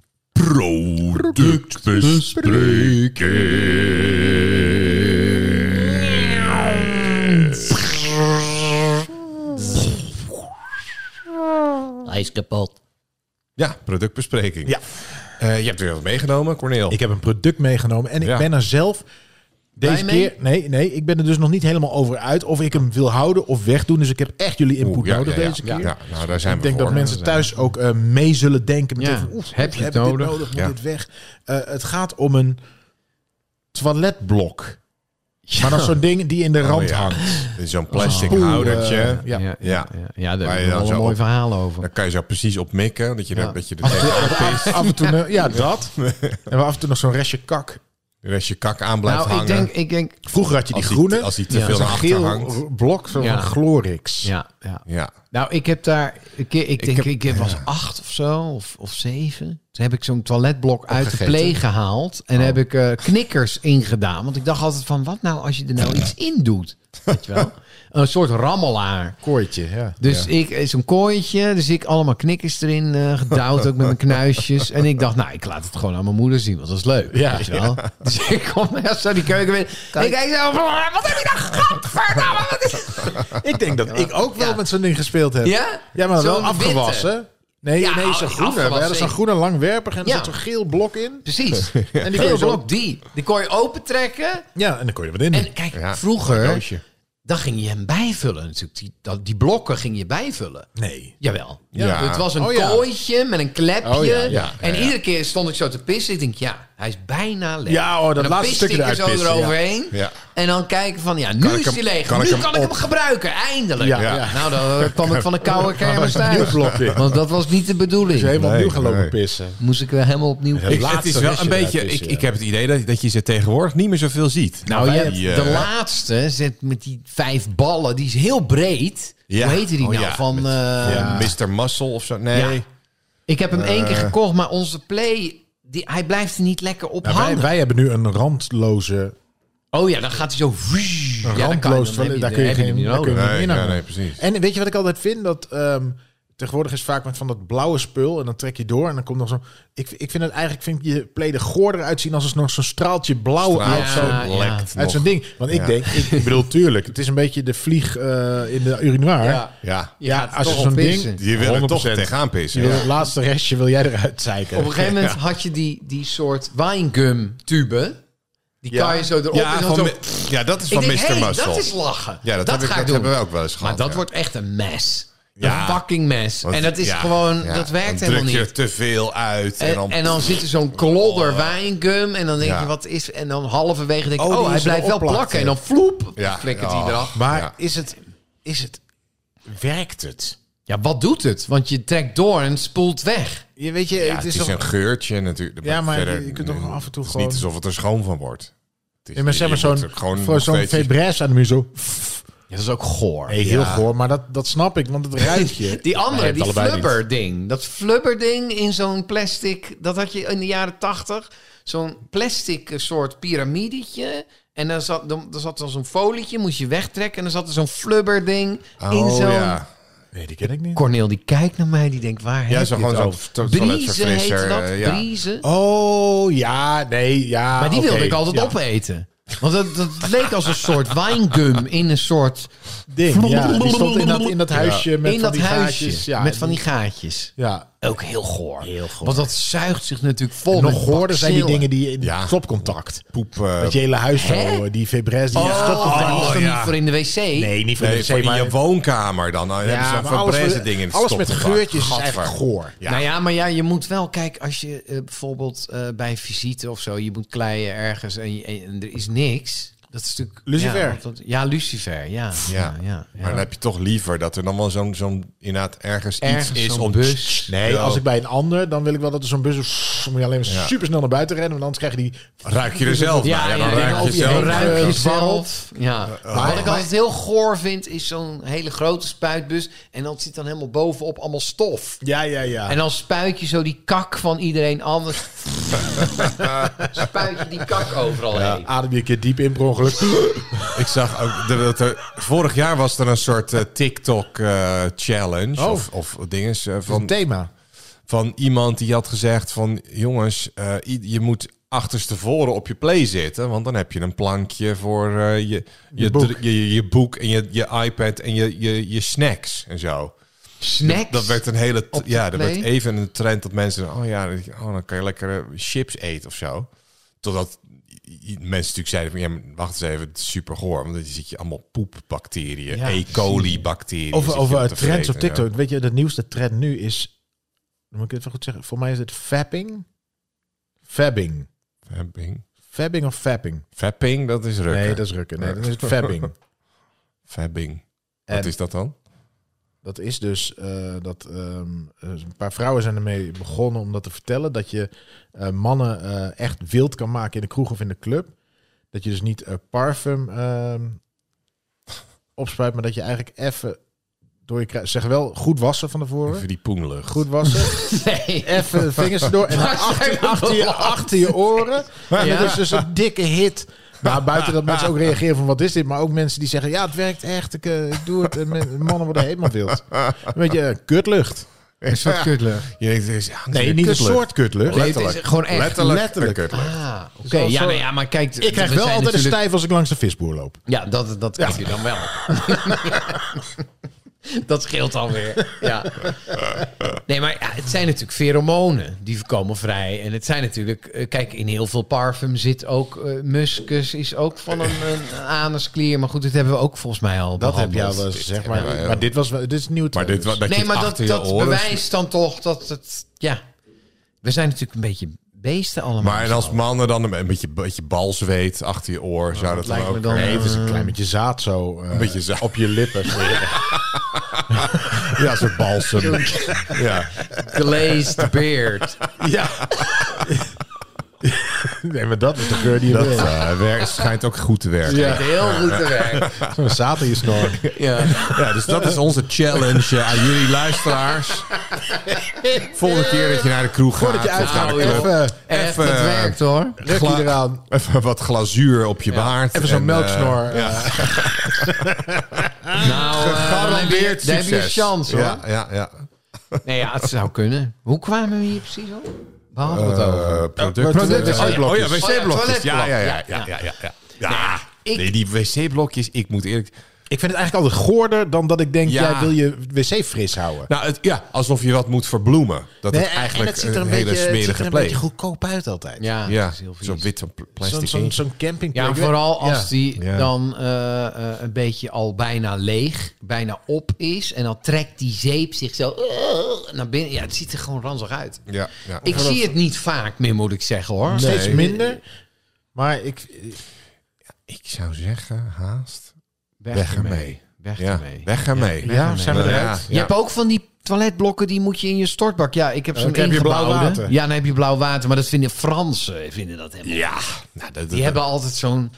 Productbespreking.
Hij is kapot.
Ja, productbespreking.
Ja.
Eh, je hebt weer wat meegenomen, Corneel.
Ik heb een product meegenomen en ik
Ja.
ben er zelf deze
Blij mee?
keer... Nee, nee, ik ben er dus nog niet helemaal over uit of ik hem wil houden of wegdoen. Dus ik heb echt jullie input
Oeh, ja,
nodig
ja, ja.
deze keer.
Ja, Ja, nou, daar zijn
Ik
we
denk
voor.
dat mensen thuis ook eh, mee zullen denken. Met
Ja.
van, oef,
Heb je
we
het
hebben dit
nodig?
Moet
Ja.
dit weg? Eh, het gaat om een toiletblok. Maar dat is zo'n ding die in de rand
Oh, ja.
hangt.
Dit is Zo'n plastic
Spoel, eh,
houdertje.
ja.
Ja, ja,
Ja.
ja. ja
Waar je
daar hebben we
dan
al
zo
een mooi
op-
verhaal over.
Dan kan je zo precies op mikken. Dat je,
Ja.
er, dat je er tegen
Af, af en toe, eh, ja, dat. En we af en toe nog zo'n restje kak.
de rest je kak aan blijft
Nou, ik
hangen.
denk... Ik denk
Vroeger had je die
Als die-
groene.
als die te
Ja,
veel
zo'n
naar achter
geel
hangt.
r- blok zo
Ja.
van Glorix.
ja, ja.
Ja.
Nou, ik heb daar... Ik, ik denk, ik,
heb-
heb- was acht of zo, of, of zeven. Toen heb ik zo'n toiletblok uit de
Opgegeten. Oh.
pleeg gehaald. En heb ik eh, knikkers ingedaan. Want ik dacht altijd van, wat nou als je er nou iets in doet? Weet je wel? Een soort rammelaar.
Kooitje, ja.
Dus ik ik, zo'n kooitje, dus ik allemaal knikkers erin eh gedouwd, ook met mijn knuisjes. En ik dacht, nou, ik laat het gewoon aan mijn moeder zien, want dat is leuk.
Ja,
weet je wel. Dus ik kom echt zo die keuken binnen. Ik kijk zo, wat heb je nou gadverdamme? Wat is...
ik denk dat ik ook wel
Ja.
met zo'n ding gespeeld heb.
Ja?
Ja, maar wel
Zo'n
afgewassen. Nee,
Ja,
nee, zo'n
afgewassen,
groene. Ja, dat is zo'n
zeker.
groene langwerpig en er
Ja.
zit zo'n geel blok in.
Precies.
En die kon je
Geel
zo-
blok, die. Die kon je opentrekken.
Ja, en dan kon je er wat in doen.
En kijk,
Ja,
vroeger,
doosje.
dan ging je hem bijvullen natuurlijk. Die, dat- die blokken ging je bijvullen.
Nee.
Jawel.
Ja.
Ja. Het was een
Oh, ja.
kooitje met een klepje.
Oh, ja, ja, ja,
en
ja.
iedere keer stond ik zo te pissen. Ik denk, ja, hij is bijna leeg.
Ja, oh, dat
En dan
laatste
piste
stukje
ik er zo
eruit pissen, ja.
eroverheen.
Ja.
En dan kijken van, ja, nu
Kan ik
is
hem-
hij leeg.
kan
nu
ik hem
kan ik hem
op?
gebruiken, eindelijk.
Ja, ja.
Nou, dan kwam ik van de koude kermis
een nieuw
thuis.
blokje.
Want dat was niet de bedoeling.
Dus helemaal
Nee,
opnieuw gaan lopen
nee.
pissen.
Moest ik weer helemaal opnieuw...
Ja.
Ik, het
laatste
is wel
restje
een beetje...
eruit is,
Ik,
ja.
ik heb het idee dat, dat je ze tegenwoordig niet meer zoveel ziet.
Nou, je
Wij-
hebt
eh,
de laatste zit met die vijf ballen. Die is heel breed.
Ja.
Hoe heette die
Oh,
nou?
ja.
Van,
Met-
eh,
ja, Eh. Mr. Muscle of zo. Nee.
Ja. Ik heb hem één keer gekocht, maar onze play... Die, hij blijft er niet lekker op
Nou, wij,
hangen.
wij hebben nu een randloze...
Oh ja, dan gaat hij zo... vzzz. Ja,
Een
dan kan je-
randloos
dan
toilet,
heb
daar kun je
heb hem
geen-
niet
daar kun je-
nodig.
Nee,
niet meer
ja,
naar-
nee, precies.
En weet je wat ik altijd vind? Dat ehm, tegenwoordig is vaak met van dat blauwe spul en dan trek je door en dan komt nog zo'n... Ik, ik vind het eigenlijk, vind ik je pleden goor eruit zien als er nog zo'n straaltje blauw
Straalt
uit
ja,
zo'n
zo lekt
Uit
nog.
zo'n ding. Want ik
Ja.
denk, ik, ik bedoel, tuurlijk, het is een beetje de vlieg eh, in de urinoir.
Ja.
Ja.
Je gaat
Ja, als je
toch
zo'n
op
ding-
pissen.
Je wil er toch
100%.
tegenaan
Je
pissen.
wil
Ja.
Het laatste restje wil jij eruit zeiken.
Op een gegeven moment had je die, die soort winegum-tube. Die kan je zo erop
Ja,
en dan
van
zo...
mi- ja, dat is
Ik
van
denk,
Mr.
hey,
Muscle.
dat is lachen.
Ja, dat, heb ik,
ga ik
dat
doen.
hebben we ook wel eens gehad.
Maar dat
ja.
wordt echt een mes.
Ja.
Een fucking mes.
Want-
en dat is
ja,
gewoon,
ja,
dat werkt
dan
helemaal
druk
niet.
je te veel uit. En,
En,
dan, Oh.
zit er zo'n klodder wijngum. En dan denk
Ja.
je, wat is... En dan halverwege denk je,
Oh,
oh,
die
hij
is
blijft wel
erop plakken.
plakken. En dan floep,
Ja. Oh.
flikkert
Ja.
hij eraf.
Maar
Ja.
is, het, is het... Werkt het?
Ja, wat doet het? Want je trekt door en spoelt weg.
Je weet je,
ja,
het is,
het is
toch...
een geurtje natuurlijk.
Ja, maar
verder,
je kunt toch af en toe
het is
gewoon-
niet alsof het er schoon van wordt. Het is-
Ja, maar zeg maar
je moet
zo'n...
er gewoon
Voor
nog
zo'n
steeds-
febres aan de muur zo...
dat is ook goor.
Nee, heel goor, maar dat, dat snap ik, want het ruikt je.
Die
Maar
andere,
je hebt
die
het allebei
flubberding. Dat flubberding in zo'n plastic... Dat had je in de jaren tachtig. Zo'n plastic eh, soort piramidetje. En dan zat, dan, dan zat dan zo'n folietje, moest je wegtrekken. En dan zat er zo'n flubberding in
Oh,
zo'n...
ja.
Nee, die ken ik niet.
Corneel die kijkt naar mij, die denkt, waar
Ja,
heb
zo
je het
gewoon
over?
zo'n to-
Briezen heet
toiletverfrisser.
dat,
eh, ja.
briezen.
Oh, ja, nee, ja.
maar die wilde
oké,
ik altijd
ja.
opeten. Want dat, dat leek als een soort wijngum in een soort...
Ding, ja. Die stond in dat, in dat huisje met
in
van
dat
die
huisje,
gaatjes. Ja,
met van die Eh,
en-
gaatjes.
Ja,
ook heel goor.
Heel goor.
Want dat zuigt zich natuurlijk vol met
Nog hoorden zijn die
bacillen.
dingen die in
Ja.
stopcontact.
Poep. eh,
Dat je hele huis
Hè?
zo, eh, die febres, die
Oh,
stopcontact.
dat is toch
ja.
niet voor in de wc?
Nee, niet van
Nee,
de
voor
wc,
in
maar...
je woonkamer dan. Nou, dan hebben ze
ja,
een
maar alles,
verbreze
met-
ding in het
alles met
stopcontact.
geurtjes is
Gadver.
eigenlijk goor.
Ja.
Nou ja, maar ja, je moet wel, kijk, als je eh, bijvoorbeeld eh, bij visite of zo, je moet kleien ergens en, je- en er is niks. Dat is natuurlijk.
Lucifer.
Ja, want dat- ja Lucifer, ja.
Ja.
ja. ja, ja.
Maar dan heb je toch liever dat er dan wel zo'n, zo'n inderdaad ergens,
Ergens
iets is
zo'n
om...
bus.
Nee,
Ja.
als ik bij een ander, dan wil ik wel dat er zo'n bus... is, moet je alleen maar
Ja.
super snel naar buiten rennen, want anders krijg je die...
Ruik je er zelf
Ja,
naar.
ja,
dan
ja,
ruik
ja,
je
ja,
zelf Eh,
dan
naar.
ruik je
eh, zwarrelt.
zelf. Ja. Maar wat ik altijd heel goor vind, is zo'n hele grote spuitbus. En dat zit dan helemaal bovenop allemaal stof.
Ja, ja, ja.
En dan spuit je zo die kak van iedereen anders. spuit je die kak overal heen.
Adem je een keer diep in per ongeluk.
Ik zag ook dat- dat er- vorig jaar was er een soort eh, TikTok-challenge
Oh.
of, of dingen eh,
Van
van,
thema.
van iemand die had gezegd van jongens, eh, i- je moet achterstevoren op je play zitten, want dan heb je een plankje voor eh, je, je,
Je boek.
dr- je, je- je boek en je, je iPad en je, je, je snacks en zo.
Snacks.
Dat werd een hele, t-
Op de
ja, dat werd
play?
even een trend dat mensen, oh ja, oh, dan kan je lekker eh, chips eten of zo. Totdat i- i- mensen natuurlijk zeiden van, ja, maar wacht eens even, het is super goor, want dan zit je allemaal poepbacteriën,
Ja,
E. coli bacteriën.
Over,
zit je
over
wat
eh,
te
trends op
vreten,
TikTok. Weet je, de nieuwste trend nu is... Moet ik het even goed zeggen? Voor mij is het fapping. Fabbing.
ja. Fapping.
Fabbing of fapping?
Fapping, dat is rukken.
Nee, dat is rukken. Nee, dat is het fabbing.
Fabbing. Wat
En-
is dat dan?
Dat is dus eh, dat ehm, eh, een paar vrouwen zijn ermee begonnen om dat te vertellen. Dat je eh, mannen eh, echt wild kan maken in de kroeg of in de club. Dat je dus niet eh, parfum ehm, opspuit, maar dat je eigenlijk even door je kruis... Zeg wel goed wassen van tevoren.
Even die poenlucht.
Goed wassen.
Nee.
Even vingers erdoor. En dan
Waar
achter,
zijn we
achter, je,
beland?
achter je oren. En
Ja.
dat is dus een dikke hit. Maar buiten dat mensen ook reageren van wat is dit? Maar ook mensen die zeggen, ja het werkt echt. Ik, eh, ik doe het. En men- mannen worden helemaal wild. Weet je, eh, kutlucht.
Een soort kutler.
Je denkt, er is- ja,
Nee,
is
niet een
kutlucht.
soort kutlucht.
Nee, het is
Letterlijk.
gewoon echt.
Letterlijk,
letterlijk.
een kutlucht.
Ah, oké.
Zo-
Ja,
zo-
nou ja, maar kijk.
Ik krijg wel altijd een stijf als ik langs de visboer loop.
Ja, dat, dat krijg je dan wel. dat scheelt alweer. Ja. Nee, maar ja, het zijn natuurlijk pheromonen. Die komen vrij. En het zijn natuurlijk... eh, Kijk, in heel veel parfum zit ook... eh, muskus is ook van een, een anusklier. Maar goed, dit hebben we ook volgens mij al
Dat heb
behandeld.
je al wel eens gezegd. Maar,
Oh, ja, ja.
maar dit, was, wel- dit is nieuw.
Maar dit, wat- dat je
Nee,
het
maar dat,
achter
dat
je oren...
bewijst dan toch dat het... Ja, we zijn natuurlijk een beetje beesten allemaal.
Maar en als mannen dan een beetje, beetje balzweet achter je oor, zou dat dan
lijkt me
ook...
dan,
Nee, het is
een klein Mm. beetje zaad zo. eh,
een beetje zo.
op je lippen.
Ja, zo'n balsem. ja.
Glazed beard.
ja. nee, maar dat is de geur die je
Dat
wil.
eh, werkt, schijnt ook goed te werken. Ja.
Ja. Heel goed te werk.
Zo'n zaad in je snor.
Ja.
dus dat is onze challenge eh, aan jullie luisteraars. Volgende keer dat je naar de kroeg gaat,
Voordat je
of naar
uitgaat,
de
Nou,
club,
even
Echt,
Even, eh,
het werkt hoor.
ruk
Gla-
je eraan.
even wat glazuur op je baard.
Even zo'n
en, eh,
melksnor. eh,
ja.
Nou, eh, dan heb je,
Gegarandeerd
dan heb je
succes.
chance hoor.
Ja, ja, Eh, ja.
Nee, ja, het zou kunnen. Hoe kwamen we hier precies op? We hadden het over.
Eh, producten.
producten,
Eh, oh ja,
wc-blokjes.
wc-blokjes.
Oh ja,
Ja, ja, ja.
toiletblok.
ja, ja, ja, ja.
ik-
nee, die wc-blokjes, ik moet eerlijk...
Ik vind het eigenlijk altijd goorder dan dat ik denk,
Ja.
jij wil je wc fris houden.
Nou, het, ja, alsof je wat moet verbloemen. Dat
Nee,
het
en- en
eigenlijk
het ziet er
een,
een,
hele
beetje, het ziet er
smerige
een
plek.
beetje goedkoop uit altijd.
Ja,
Ja,
dat is heel vies.
zo'n wit plastic
Zo'n
ding.
zo'n zo'n campingplek.
Ja,
weet je?
vooral als
Ja.
die
Ja.
dan eh, eh, een beetje al bijna leeg, bijna op is. En dan trekt die zeep zich zo eh, naar binnen. Ja, het ziet er gewoon ranzig uit.
Ja, ja.
Ik zie het niet vaak meer, moet ik zeggen hoor.
Nee.
Steeds minder. Maar ik,
Ik zou zeggen, haast.
Weg,
Weg
ermee.
ermee.
Weg
Ja,
ermee.
weg ermee.
Ja,
ja,
nee.
zijn we
Ja,
eruit?
ja.
Je hebt ook van die toiletblokken die moet je in je stortbak. Ja, ik heb zo'n
Eh, dan heb je blauw
ingebouwde.
water.
Ja, dan heb je blauw water, maar dat vinden Fransen eh, vinden dat helemaal.
Ja, nou, dat, dat-
Die hebben altijd zo'n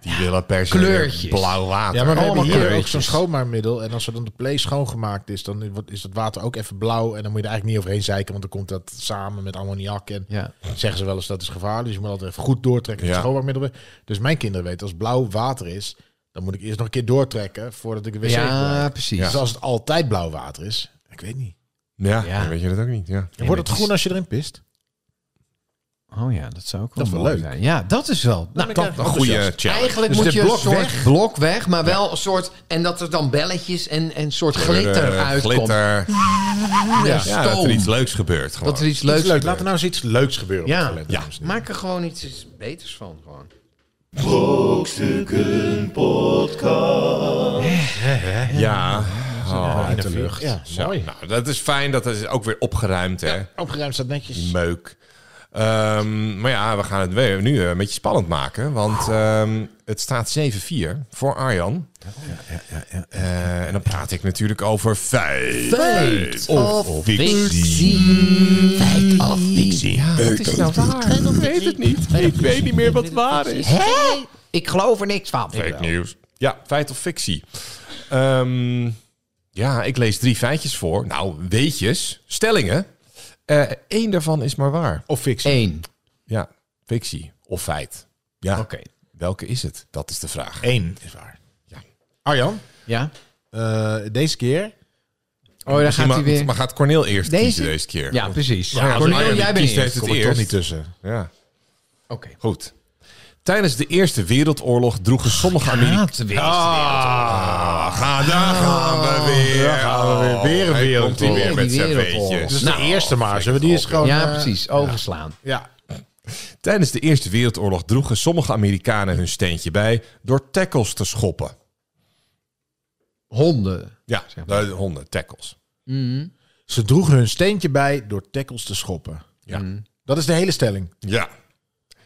die willen per se
Kleurtjes.
blauw water.
Ja, maar we hebben
Allemaal
hier ook
kleurtjes.
zo'n schoonmaakmiddel. En als er dan de play schoongemaakt is, dan wordt- is dat water ook even blauw. En dan moet je er eigenlijk niet overheen zeiken, want dan komt dat samen met ammoniak. En
ja.
zeggen ze wel eens dat is gevaarlijk. Dus je moet altijd even goed doortrekken met
Ja.
het schoonmaakmiddel. Dus mijn kinderen weten, als blauw water is, dan moet ik eerst nog een keer doortrekken voordat ik de wc
Ja,
gebruik.
precies.
Dus als het altijd blauw water is, ik weet niet.
Ja,
Ja.
dan weet je dat ook niet. Ja.
Dan wordt
maar
het groen als je erin pist.
Oh ja, dat zou ook
Dat is wel
mooi
leuk.
zijn. Ja, dat is wel. Nou,
krijg
dat,
je
Een goede
enthousiast.
challenge.
Eigenlijk
Dus
moet
de
je een
blok
soort
weg.
blok weg, maar wel een soort... En dat er dan belletjes en en een soort glitter
Eh,
uitkomt.
glitter.
Ja,
Ja, dat
stoom.
er iets leuks gebeurt. Gewoon.
Dat er iets
Leuk.
leuks
Laat er nou eens iets leuks gebeuren. op
Ja.
het toilet,
Ja.
dames en heren.
Maak er gewoon iets beters van. Gewoon.
Ja. Oh,
uit de lucht. Ja,
zo.
mooi.
Nou, dat is fijn. Dat is ook weer opgeruimd, hè?
Opgeruimd staat
Mm.
netjes.
Meuk. Ehm, maar ja, we gaan het we- nu eh, een beetje spannend maken. Want ehm, het staat 7-4 voor Arjan. Eh, en dan praat ik natuurlijk over feit.
Feit
of,
of
fictie.
Feit of fictie. Ja, wat is nou waar?
Ik weet het niet. Ik weet niet meer wat waar is.
Hè? Ik geloof er niks van.
Fake nieuws. Ja, feit of fictie. Ehm, ja, ik lees drie feitjes voor. Nou, weetjes, stellingen. Eén daarvan is maar waar.
Of fix.
Eén.
Ja, fictie of feit. Ja,
Oké.
welke is het? Dat is de vraag.
Eén is waar.
Ja.
Oh,
Arjan,
Ja?
eh, deze keer.
Oh, daar gaat hij
maar,
weer.
maar gaat Cornel eerst
Deze?
kiezen deze keer?
Ja, precies.
Ja, als
Cornel,
Arjan
jij
die
bent
kiest,
eerst.
heeft het
Kom ik toch
eerst.
niet tussen.
Ja,
Oké.
goed. Tijdens de Eerste Wereldoorlog droegen sommige Amerikanen...
Gaat weer.
Ah, ga, daar gaan we weer.
daar gaan we weer.
Oh,
Weer een
hij komt hier weer
wereldoorlog.
met zijn
Weer die
weetjes.
wereldoorlog.
Dus
Nou,
de eerste maar. Zullen we die is gewoon...
Ja,
eh,
precies. Overslaan.
Ja.
Tijdens de Eerste Wereldoorlog droegen sommige Amerikanen hun steentje bij door tackles te schoppen.
Honden.
Ja,
Zeg
eh, honden, tackles.
Ze droegen hun steentje bij door tackles te schoppen.
Ja.
Dat is de hele stelling.
ja.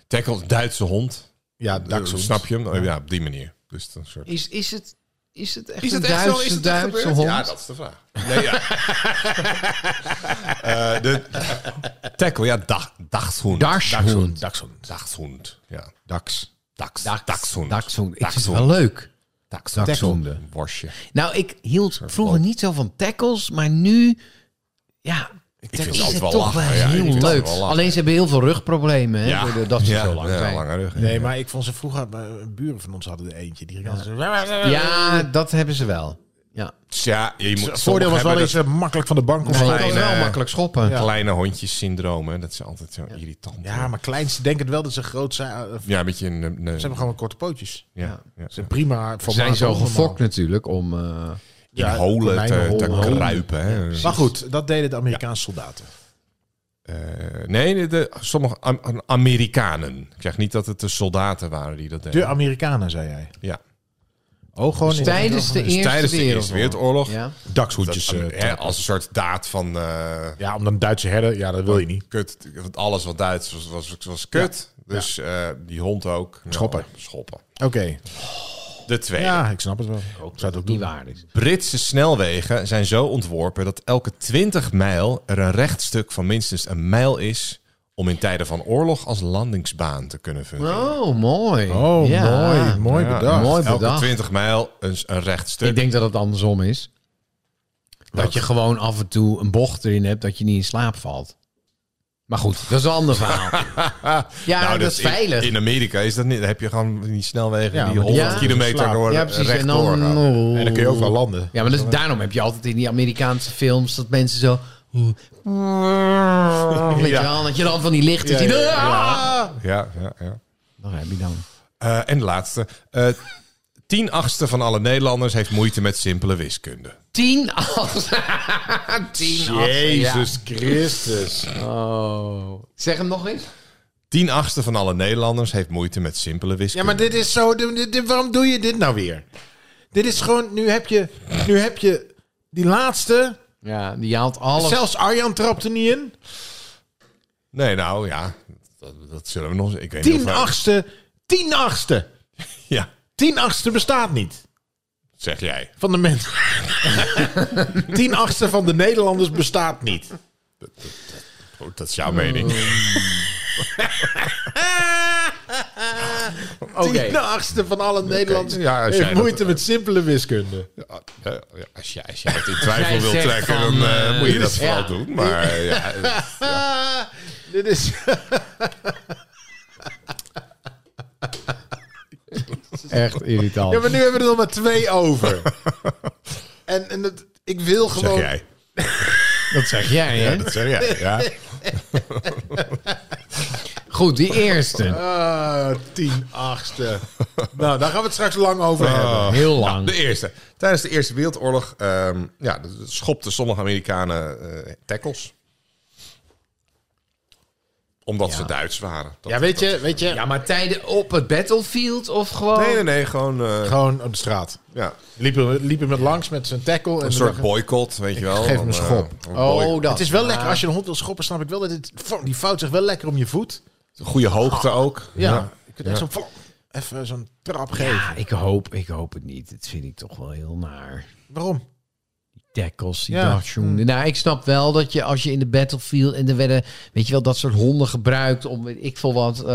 Tackles, Duitse hond.
Ja,
Eh,
dachshond.
Snap je hem? Eh, Ja, op die manier. Dus dat is een soort...
Is, is, het, is het echt een Duitse, Duitse
gebeurd?
hond?
Ja, dat is de vraag. Nee, ja. Eh, de tackle, ja, dag, dagshond.
Darshund.
Dachshond.
Dagshund, ja.
Dax.
Dags,
Dax-
dagshund.
Dachshund. Ik vind het
Dachshund.
wel leuk.
Dachshund.
Dachshunde.
Worstje.
Nou, ik hield vroeger niet zo van tackles, maar nu... Ja, ik
vind
is
dat
het
wel
toch
lachen,
wel
ja, ik vind
heel
dat
leuk.
wel lachen.
Alleen ze hebben heel veel rugproblemen, hè,
Ja.
doordat dat ze
Ja,
zo lang
ja,
zijn.
lange rug.
Nee, maar ik vond ze vroeger... eh, Buren van ons hadden er eentje. Die ging altijd zo-
Eh,
Ja, dat hebben ze wel. Ja.
Ja, je moet
Het voordeel was wel
eens.
dat ze makkelijk van de bank
Ze
omvallen.
Kleine-
kan wel makkelijk schoppen.
Ja.
Kleine hondjes-syndroom, hè? dat is altijd zo irritant.
Ja, maar kleinste denken wel dat ze groot zijn. Eh, Ze
ja, een beetje een. een- een-
hebben gewoon korte pootjes.
ja, ja.
Ze zijn prima.
Ze zijn zo gefokt natuurlijk om... eh,
In holen te, te
holen.
kruipen. Hè? Dus,
Maar goed, dat deden de Amerikaanse soldaten.
Eh, nee, de, de- sommige Am- Am- Amerikanen. Ik zeg niet dat het de soldaten waren die dat deden.
De Amerikanen, zei jij.
ja.
Oh, gewoon in-
Dus tijdens de
in-
Eerste
Tijdens de Eerste Wereldoorlog.
Ja.
dakshoedjes.
Dat-
eh,
hè, als een soort daad van eh,
ja, om een Duitse herder, ja, dat wil je niet.
kut. Want alles wat Duits was, was, was kut. Dus eh, die hond ook. Nou,
Schoppen.
Schoppen.
Oké,
De tweede.
ja, ik snap het wel. Ik zou het ook
Niet
doen.
waar is.
Britse snelwegen zijn zo ontworpen dat elke 20 mijl er een rechtstuk van minstens een mijl is om in tijden van oorlog als landingsbaan te kunnen fungeren.
Oh, mooi.
Oh,
Ja.
mooi, mooi
Ja,
bedacht.
mooi
elke
Nou, bedacht.
20 mijl een, een rechtstuk.
Ik denk dat het andersom is. Dat je gewoon af en toe een bocht erin hebt dat je niet in slaap valt. Maar goed, dat is een ander verhaal. ja,
Nou,
dat, is
in-
veilig.
In, Amerika is dat niet. Dan heb je gewoon die snelwegen
Ja,
die
maar die
100
gaan
kilometer
slapen.
door
ja, precies. En
rechtdoor
dan,
gaan.
En dan Oh. kun je overal landen.
Ja, maar dus, daarom heb je altijd in die Amerikaanse films dat mensen zo... Weet je wel, dat je dan van die lichten ziet.
ja,
Ah!
Ja, ja, ja.
Dan heb je dan...
Eh, en de laatste. Eh tien achtste van alle Nederlanders heeft moeite met simpele wiskunde.
Tien als... Tien als...
Christus.
Oh. Zeg hem nog eens.
Tien achtste van alle Nederlanders heeft moeite met simpele
Ja,
wiskunde.
maar dit is zo. dit- dit- waarom doe je dit nou weer? Dit is gewoon. Nu heb je, nu heb je die laatste.
Ja, die haalt alles.
Zelfs Arjan trapt er niet in.
Nee, nou ja, dat, dat zullen we nog eens. Ik weet niet
Tien
of wij-
achtste. Tien achtste.
Ja,
Tien achtste bestaat niet.
zeg jij.
Van de mensen. Tien achtste van de Nederlanders bestaat niet. Oh.
Goed, dat is jouw mening.
Oké.
Tien achtste van alle Nederlanders
Ja, als jij
heeft
dat-
moeite met simpele wiskunde.
Ja, Ah, ja, Als jij, als jij het in twijfel
jij
wil
zegt
trekken,
van,
dan eh,
eh,
moet je dat
ja.
vooral doen. Maar eh, ja, het-
Ah, dit is...
Echt irritant.
Ja, maar nu hebben we er nog maar twee over. En, en het, ik wil
zeg
gewoon...
jij.
Dat zeg jij, hè?
Dat zeg jij, ja.
Goed, die eerste.
Ah, tien achtste. nou, daar gaan we het straks lang over hebben.
Heel
Nou,
lang.
de eerste. Tijdens de Eerste Wereldoorlog ehm ja, schopten sommige Amerikanen eh, tackles. Omdat ze Duits waren. Dat-
Ja, weet je, weet je
Ja, maar tijden op het battlefield of gewoon...
Nee, nee, nee. Gewoon eh,
gewoon op de straat.
ja,
Liepen we liepen met langs met zijn tackle. en
een
we
soort
dachten-
boycott, weet je wel.
geef hem
Dan,
een
eh,
schop.
een
Oh,
boy-
dat.
Het is wel lekker, als je een hond wil schoppen, snap ik wel dat dit, die fout zich wel lekker om je voet.
Goede hoogte ook.
Ja,
Ja.
je kunt echt zo'n flop, even zo'n trap geven.
Ja, ik hoop, ik hoop het niet. Dat vind ik toch wel heel naar.
Waarom?
Dekkels, die
Ja. Hm.
ja. Nou, ik snap wel dat je als je in de battlefield... En er werden, weet je wel, dat soort honden gebruikt om, weet ik veel wat... eh,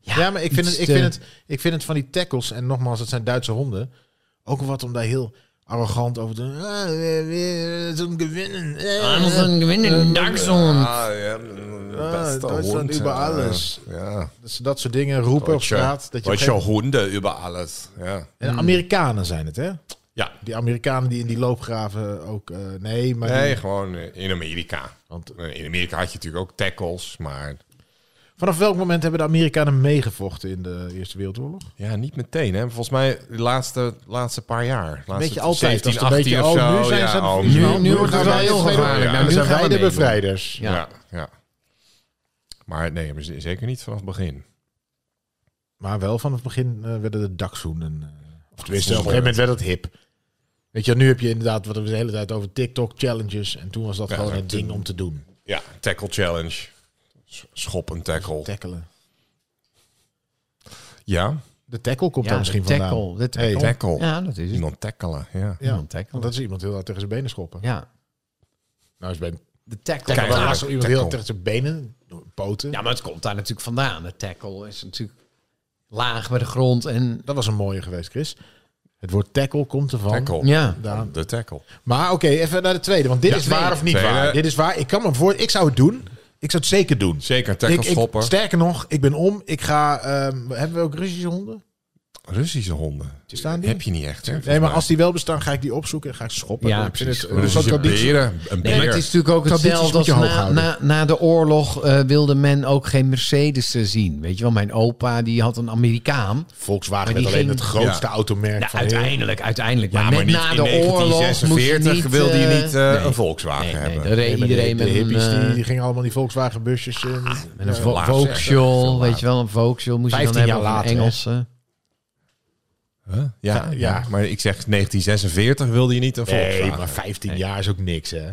Ja, maar ik vind,
iets
het, ik,
te-
vind het, ik vind het van die tackles, en nogmaals, het zijn Duitse honden, ook wat om daar heel arrogant over te doen. Ah, eh, weer zo'n gewinnen. eh,
anders dan winnen, Dachshund.
Ah, ja, beste
Duitsland
hond,
über
eh,
alles.
Ja.
Dat ze dat soort dingen roepen op straat. Dat je op
Deutsche
een gegeven
honden über alles. Ja.
moment- en Amerikanen zijn het, hè?
ja.
Die Amerikanen die in die loopgraven ook... eh, nee, maar... die-
Nee, gewoon eh, in Amerika. eh,
want
In Amerika had je natuurlijk ook tackles, maar
vanaf welk moment hebben de Amerikanen meegevochten in de Eerste Wereldoorlog?
ja, niet meteen. Hè. Volgens mij de laatste, laatste paar jaar. Laatste
Weet je altijd, als
17,
het een
18
beetje,
of
oh,
zo.
nu zijn
ja,
ze-
oh,
nu-
nu-
nu wordt
gaan
het
wij
wel heel
meedoen.
gevaarlijk.
Ja,
Nou,
dan
nu
zijn
gaan
wij
we
de
meedoen.
bevrijders.
Ja.
ja, ja. Maar nee, maar z- zeker niet vanaf het begin.
Maar wel vanaf het begin eh, werden de dakzoenen. eh, of tenminste, op
Schoon.
een gegeven moment werd dat hip. Weet je, nu heb je inderdaad wat we de hele tijd over TikTok-challenges. En toen was dat
Ja,
gewoon
maar
het ding om te doen.
Ja, tackle challenge. S- Schop een tackle.
Tackelen.
Ja,
De tackle komt daar
ja,
misschien
de
vandaan.
tackle, de tackle.
Hey,
tackle.
Ja, dat is het.
Iemand tackelen, ja.
Ja,
Iemand tackelen.
want dat is iemand heel hard tegen zijn benen schoppen.
Ja,
Nou is ben
de tackle.
tackle.
Tackle.
wel lastig, iemand heel hard
Tackle.
tegen zijn benen, poten.
Ja, maar het komt daar natuurlijk vandaan. De tackle is natuurlijk laag bij de grond en...
Dat was een mooie geweest, Chris. Het woord tackle komt ervan.
Tackle.
Ja,
Vandaan.
De tackle.
Maar oké, even naar de tweede. Want dit
Ja,
is waar
tweede.
of niet
Tweede.
waar. Dit is waar. Ik kan me voor. Ik zou het doen. Ik zou het zeker doen.
Zeker een
Ik,
tackle
ik,
schopper.
sterker nog, ik ben om. Ik ga. ehm, hebben we ook Russische honden?
Russische honden.
Staan die?
Heb je niet echt, hè?
Nee,
volgens
maar
mij.
als die wel bestaan, ga ik die opzoeken en ga ik ze schoppen.
Ja,
Ik vind
precies.
het, eh,
Russische
zo'n traditie.
beren, een
Nee, maar
beer.
het is natuurlijk ook
Tradities
hetzelfde als
moet je hoog
na,
houden.
na, na de oorlog eh, wilde men ook geen Mercedes eh, zien. Weet je wel, mijn opa die had een Amerikaan.
Volkswagen
Maar
werd
die
alleen
ging-
het grootste
Ja.
automerk
Ja,
van heel-
uiteindelijk, uiteindelijk. Maar,
Ja,
net
maar niet
na
in
de oorlog moest je
1946
niet...
wilde je
eh,
niet eh,
nee.
een Volkswagen
Nee, nee,
hebben.
daar reed
Nee, maar
iedereen
de,
met
de
een,
hippies die,
eh, Ah,
die gingen allemaal in die Volkswagen busjes. en
met een
Ja.
vo-
laag,
Vauxhall,
zeg.
weet je wel. Een Vauxhall moest je dan
15
hebben
jaar
van
later, hè?
Engelsen.
Huh? Ja, ja,
Ja.
maar ik zeg 1946 wilde je niet een
nee,
Volkswagen.
maar 15 jaar is ook niks, hè?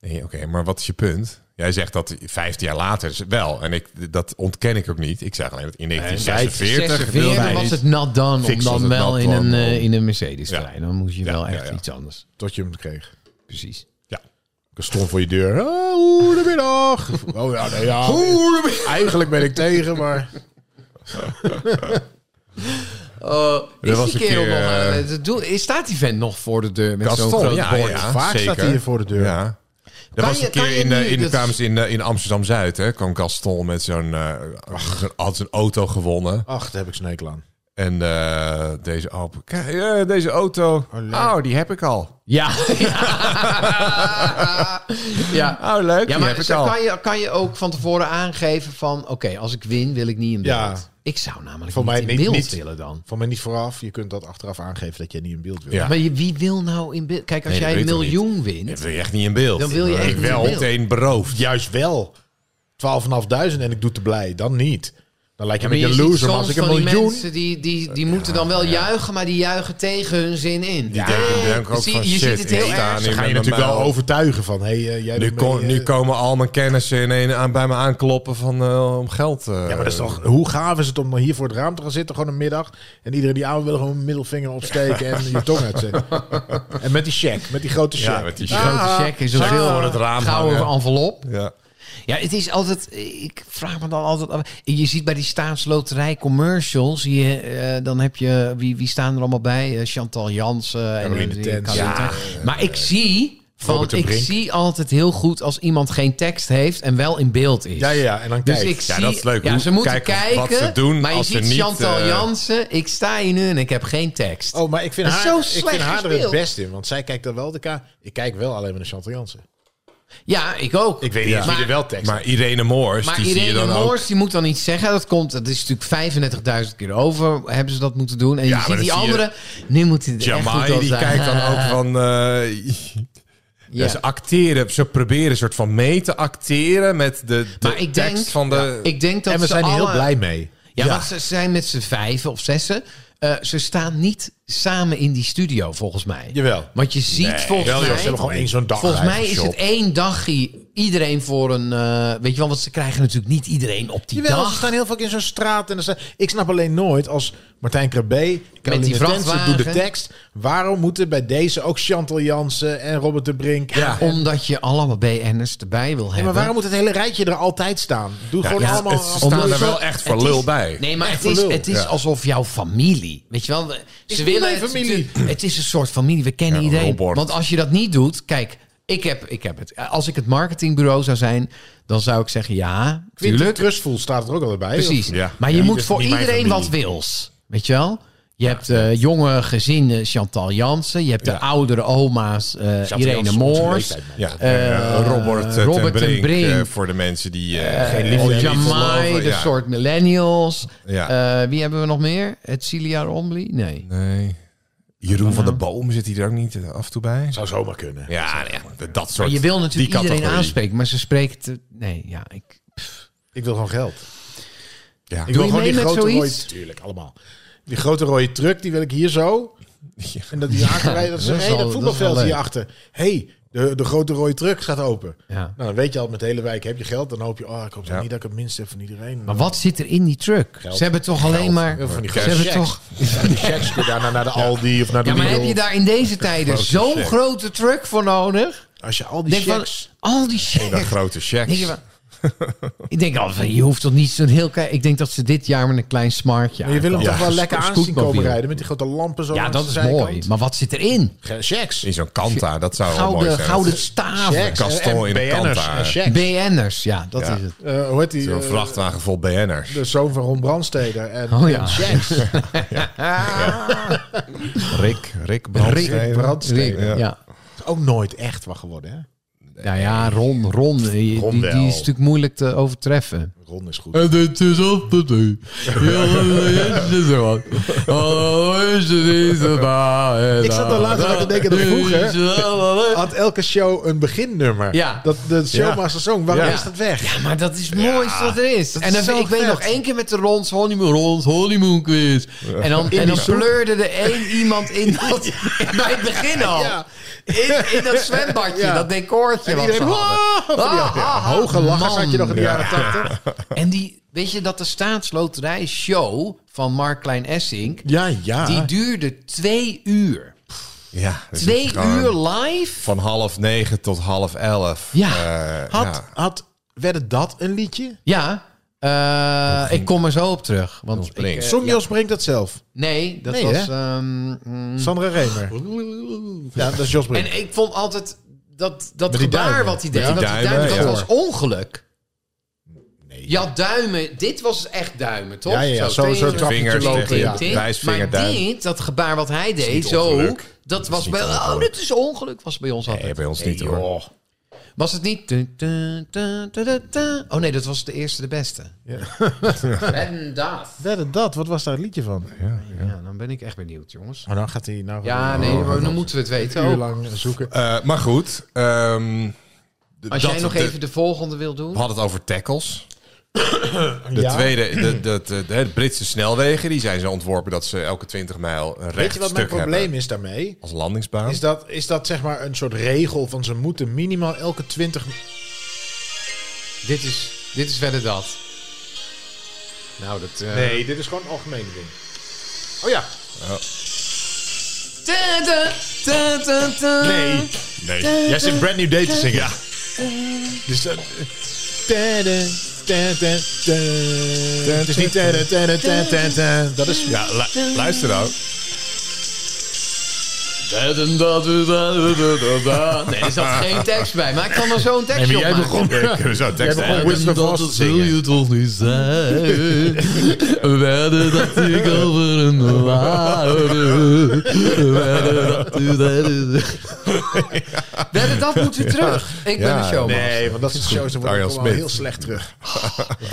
Nee, Oké, maar wat is je punt? Jij zegt dat 15 jaar later is het wel. En ik, dat ontken ik ook niet. Ik zeg alleen dat in 1946 wilde je
46 was
niet.
het nat dan. Om
Fix was
dan
het
wel
nat
in een,
dan,
eh,
om-
in een Mercedes te
Ja.
rijden. Dan moest je
Ja,
wel
ja,
echt
ja.
iets anders.
Tot je hem kreeg.
Precies.
Ik stond voor je deur. Oh, goedemiddag. Oh ja, nee, ja. Eigenlijk ben ik tegen, maar...
Oh,
Er
is
was een
die kerel
keer,
nog aan
eh,
het doen? Is- Staat die vent nog voor de deur met zo'n
Gaston,
groot
ja,
bord?
ja.
Vaak staat
zeker.
hij hier voor de deur.
Ja. Er was
je-
een keer
kan je
in, eh,
nu- dus-
in,
dat
kwamen
is-
ze in, eh, in Amsterdam-Zuid. hè, kwam Gaston met zo'n... eh, zo'n- had zijn auto gewonnen.
Ach, daar heb ik snekel aan.
En eh, deze, oh, kijk, eh, deze auto...
Oh, leuk.
Oh, die heb ik al.
Ja. ja. ja.
Oh, leuk, die heb
maar
ik
zo
al.
kan je, kan je ook van tevoren aangeven van... Oké, als ik win, wil ik niet in
Ja.
beeld. Ik zou namelijk
Voor
niet
mij
in
niet-
beeld
niet.
willen dan.
Van mij niet vooraf. Je kunt dat achteraf aangeven dat jij niet in beeld wil.
Ja.
Maar je- wie wil nou in beeld... Kijk, als
Nee, dat
jij een
weet ik
miljoen
Dat
wint...
wil je echt niet in beeld.
Dan wil je
Maar
echt
ik
niet
wel
in beeld.
meteen beroofd.
Juist wel. 12.500 en ik doe te blij. Dan niet. Dan lijkt je
Maar
een
je
beetje
ziet
loser. Maar
soms
als ik een
van die
miljoen...
mensen die, die, die moeten dan wel juichen, maar die juichen tegen hun zin in.
Die denken, die denken ook
Zie-
van
je ziet
shit,
het
ik
heel
sta
erg.
nu
Dan ga je
met
natuurlijk
mijn
wel
bijl.
overtuigen van... Hey, eh, jij
Nu,
doet
kon-
mee,
nu
eh.
komen al mijn kennissen in een, aan, bij me aankloppen van, eh, om geld. eh,
Ja, maar dat is toch... Hoe gaaf is het om dan hier voor het raam te gaan zitten, gewoon een middag. En iedereen die aan wil, gewoon een middelvinger opsteken en je tong uitzetten. En met die check, met die grote check.
Ja, met die
Die grote
Ah,
check is een
check
veel
voor het
raam
gouden
hangen.
envelop.
Ja.
Ja, het is altijd. Ik vraag me dan altijd. af. Je ziet bij die staatsloterij commercials. Zie je, eh, dan heb je. Wie, wie staan er allemaal bij? Eh, Chantal Jansen.
Caroline
en, eh,
Tens.
Caroline
Ja.
Tens. Maar ik zie. Van,
Robert de
ik
Brink.
zie altijd heel goed als iemand geen tekst heeft en wel in beeld is.
Ja, ja, en dan
Dus
kijk.
ik zie,
Ja, dat is leuk.
Ja,
Hoe-
ze moeten
kijk
kijken.
wat ze doen
maar je
als ze
ziet
niet,
Chantal
eh,
Jansen. Ik sta hier nu en ik heb geen tekst.
Oh, maar ik vind
Dat is
haar,
zo
ik
slecht
vind haar er het
gespeeld.
best in. Want zij kijkt er wel de ka. Ik kijk wel alleen maar naar Chantal Jansen.
Ja, ik ook.
Ik weet niet of
Maar-
wie er wel tekst
Maar Irene Moors,
Maar
die zie je
Irene
dan ook.
Moors, die moet dan iets zeggen. Dat komt, dat is natuurlijk 35.000 keer over. Hebben ze dat moeten doen. En
Ja,
je
maar
ziet
dat
die
zie je.
andere. Nu moet hij er echt goed
Jamai,
op
die
zijn.
kijkt dan ook van... eh,
Ja.
dus
ze acteren, ze proberen een soort van mee te acteren met de, de
Maar ik
tekst
denk-
van de...
Ik denk dat
En we
ze
zijn er heel
alle-
blij mee.
Ja, want ze zijn met z'n vijven of zessen. Eh, ze staan niet samen in die studio, volgens mij.
Jawel.
Want je ziet volgens
Wel, joh,
mij...
ze hebben gewoon één zo'n dag.
Volgens mij is
gejopt.
het één dagje iedereen voor een... eh, weet je wel, want ze krijgen natuurlijk niet iedereen op die
Jawel, ze
dag.
staan heel vaak in zo'n straat. En er staan- ik snap alleen nooit als Martijn Krabbe, Caroline Tensen,
vrachtwagen.
doet de tekst. Waarom moeten bij deze ook Chantal Jansen en Robert de Brink? Ja. en-
Omdat je allemaal BN'ers erbij wil hebben.
Ja, maar waarom moet het hele rijtje er altijd staan? Doe gewoon
ja,
allemaal...
het- ze staan
Omdat-
er wel echt voor
Het
lul
is-
bij.
Nee, maar
Echt
het
voor
is,
lul.
het is
Ja.
alsof jouw familie. Weet je wel, we- ze willen.
mijn
het-
familie.
Het, is een soort familie. We kennen
Ja,
iedereen.
Robert.
Want als je dat niet doet, kijk, ik heb, ik heb het. Als ik het marketingbureau zou zijn, dan zou ik zeggen: ja,
Quinten
tuurlijk.
Trustful staat er ook altijd bij.
Precies.
Ja.
Maar je
Ja,
moet
dus
voor
niet mijn
iedereen
familie.
wat wils. Weet je wel? Je hebt eh, jonge gezinnen Chantal Jansen. Je hebt de
Ja.
oudere oma's eh, Irene
Jansen, onze
Moors.
leeftijd, man.
Ja, eh, Robert, eh,
Robert
ten
ten
Brink,
Brink.
eh, voor de mensen die... eh geen
Oh,
liefde hebben, niet
Jamai,
geloven.
de
Ja.
soort millennials.
Ja.
Eh, wie hebben we nog meer? Het Cilia Rombly? Nee.
Nee. Jeroen van der Boom zit hier ook niet eh, af en toe bij.
Zou zomaar kunnen.
Ja, nee, dat soort...
Maar je wil natuurlijk
die
iedereen
categorie.
aanspreken, maar ze spreekt... eh, nee, ja, ik...
Ik wil gewoon geld.
Ja.
Ik wil
je
gewoon
mee
die
met
grote
zoiets?
rode... Tuurlijk, allemaal. Die grote rode truck, die wil ik hier zo.
Ja.
En dat die aangerij, dat is
dat
een
is
hele
wel- dat is
voetbalveld
wel leuk.
hierachter. Hé, hey, de, de grote rode truck gaat open.
Ja.
Nou, dan weet je al, met de hele wijk heb je geld. Dan hoop je, oh, ik hoop
Ja.
toch niet dat ik het minst heb van iedereen.
Maar wat zit er in die truck?
Geld.
Ze hebben toch alleen maar...
Heel veel van die
ze
geld.
hebben
Checks.
toch...
Ja, die checks kun je daarna naar de Aldi of naar de
Ja, maar heb
Lidl.
je daar in deze tijden
Grote
zo'n
check.
grote truck voor nodig?
Als je al die
Denk van,
checks...
al die shit.
Dat grote
Denk je
checks.
van- ik denk al, van, je hoeft toch niet zo'n heel klein... Ik denk dat ze dit jaar met een klein smartje
Maar je wil hem
Ja,
toch wel lekker aan zien
scootmobiel.
komen rijden met die grote lampen zo
Ja,
langs
dat
de
is
zijkant.
mooi. Maar wat zit erin?
Ge- Checks.
In zo'n kanta, dat
Oh,
zou wel mooi
Gouden,
zijn.
gouden staven.
Checks.
Kastel
En
in de
BN'ers
kant daar.
en checks.
BN'ers, ja, dat
Ja.
is het.
Eh, hoe heet die?
Zo'n
eh,
vrachtwagen vol BN'ers.
de zoon van Ron Brandsteder. En,
Oh ja.
en checks.
Rick, Rick
Brandstede.
Rick Brandstede.
Ja.
Ja.
Is ook nooit echt wat geworden, hè?
Nou ja, Ron, Ron, eh, die,
Ron
die
wel.
is natuurlijk moeilijk te overtreffen.
Ron is goed.
En het is op de deur. is
Ik zat al later aan te denken dat vroeger had elke show een beginnummer.
Ja.
Dat de showmaster song. Waarom
Ja.
is dat weg?
Ja, maar dat is het mooiste wat er is.
Dat
en
is
dan,
zo
ik weet
vet.
nog één keer met de Rons honeymoon, Rons honeymoon quiz. En dan, en dan pleurde er één iemand in dat, bij het begin al.
Ja.
In, in dat zwembadje,
Ja.
dat decoortje
En
wat
iedereen,
ze hadden.
wow, van die-
Ah, ah, ah,
Hoge lachers
man.
had je nog in de
Ja.
jaren tachtig.
En die, weet je dat de staatsloterij show van Mark Klein Essink,
Ja, ja.
die duurde twee uur.
Ja, dus
Twee
gewoon
uur live?
Van half negen tot half elf.
Ja.
Eh,
had,
ja.
had, werd het dat een liedje?
Ja, eh, ik kom er zo op terug. Want ik,
Brink.
eh, Mm.
Song Jos brengt dat zelf.
nee, dat
Nee,
was...
hè?
ehm, mm,
Sandra Remer. Ja, dat is Jos Brink.
en ik vond altijd dat, dat
Met die
gebaar
duimen.
wat hij deed,
Met die
dat, die
duimen,
duimen, dat
ja.
was ongeluk. Je had duimen, dit was dus echt duimen, toch?
Ja, ja, ja, zo-
tegen-
zo'n trapje
Vingers
lopen,
tegen
ja.
de
Ting.
wijsvinger,
Maar
duim.
dit, dat gebaar wat hij deed,
niet
zo,
ongeluk.
dat
is
was
niet
wel, oh,
ongeluk.
dit is ongeluk, was bij ons altijd.
Nee, bij ons niet hoor.
Was het niet? Tu, tu, tu, tu, tu, tu. Oh nee, dat was de eerste, de beste.
Ja.
en dat.
Werd het dat? Wat was daar het liedje van?
Ja, dan ben ik echt benieuwd, jongens.
Maar dan gaat hij nou
Ja, nee, maar dan moeten we het weten.
een uur
ook.
lang zoeken.
Eh, maar goed. ehm, d-
Als
dat-
jij nog
de-
even de volgende wil doen.
We hadden het over tackles. De
Ja.
tweede, de, de, de, de- de Britse snelwegen, die zijn zo ontworpen dat ze elke 20 mijl een
Weet
recht
je wat mijn
stuk
probleem
hebben
is daarmee?
als landingsbaan.
Is dat, is dat zeg maar een soort regel van ze moeten minimaal elke 20...
Dit is, dit is verder dat. Nou, dat... eh,
Nee, dit is gewoon een algemene ding. Oh ja.
Ta, ta, ta, ta, ta.
Nee.
Jij zit Brand New Day te zingen. Ja. Dus dat... Het is niet... Dat is... nou.
Ja, lu- luister nou.
Nee, er zat geen tekst bij, maar ik kan er zo'n tekstje
maar
op
jij begon-
maken.
Ja, ik zou tekst
begon
hebben.
Wizard of Oz te zingen.
toch niet zijn? We werden dat ik over een waarde. We werden dat u... Werden dat moet weer terug. Ik ben
Ja,
een showman.
Nee, want dat is shows, dan
Arjan
word ik allemaal
Smit.
heel slecht terug.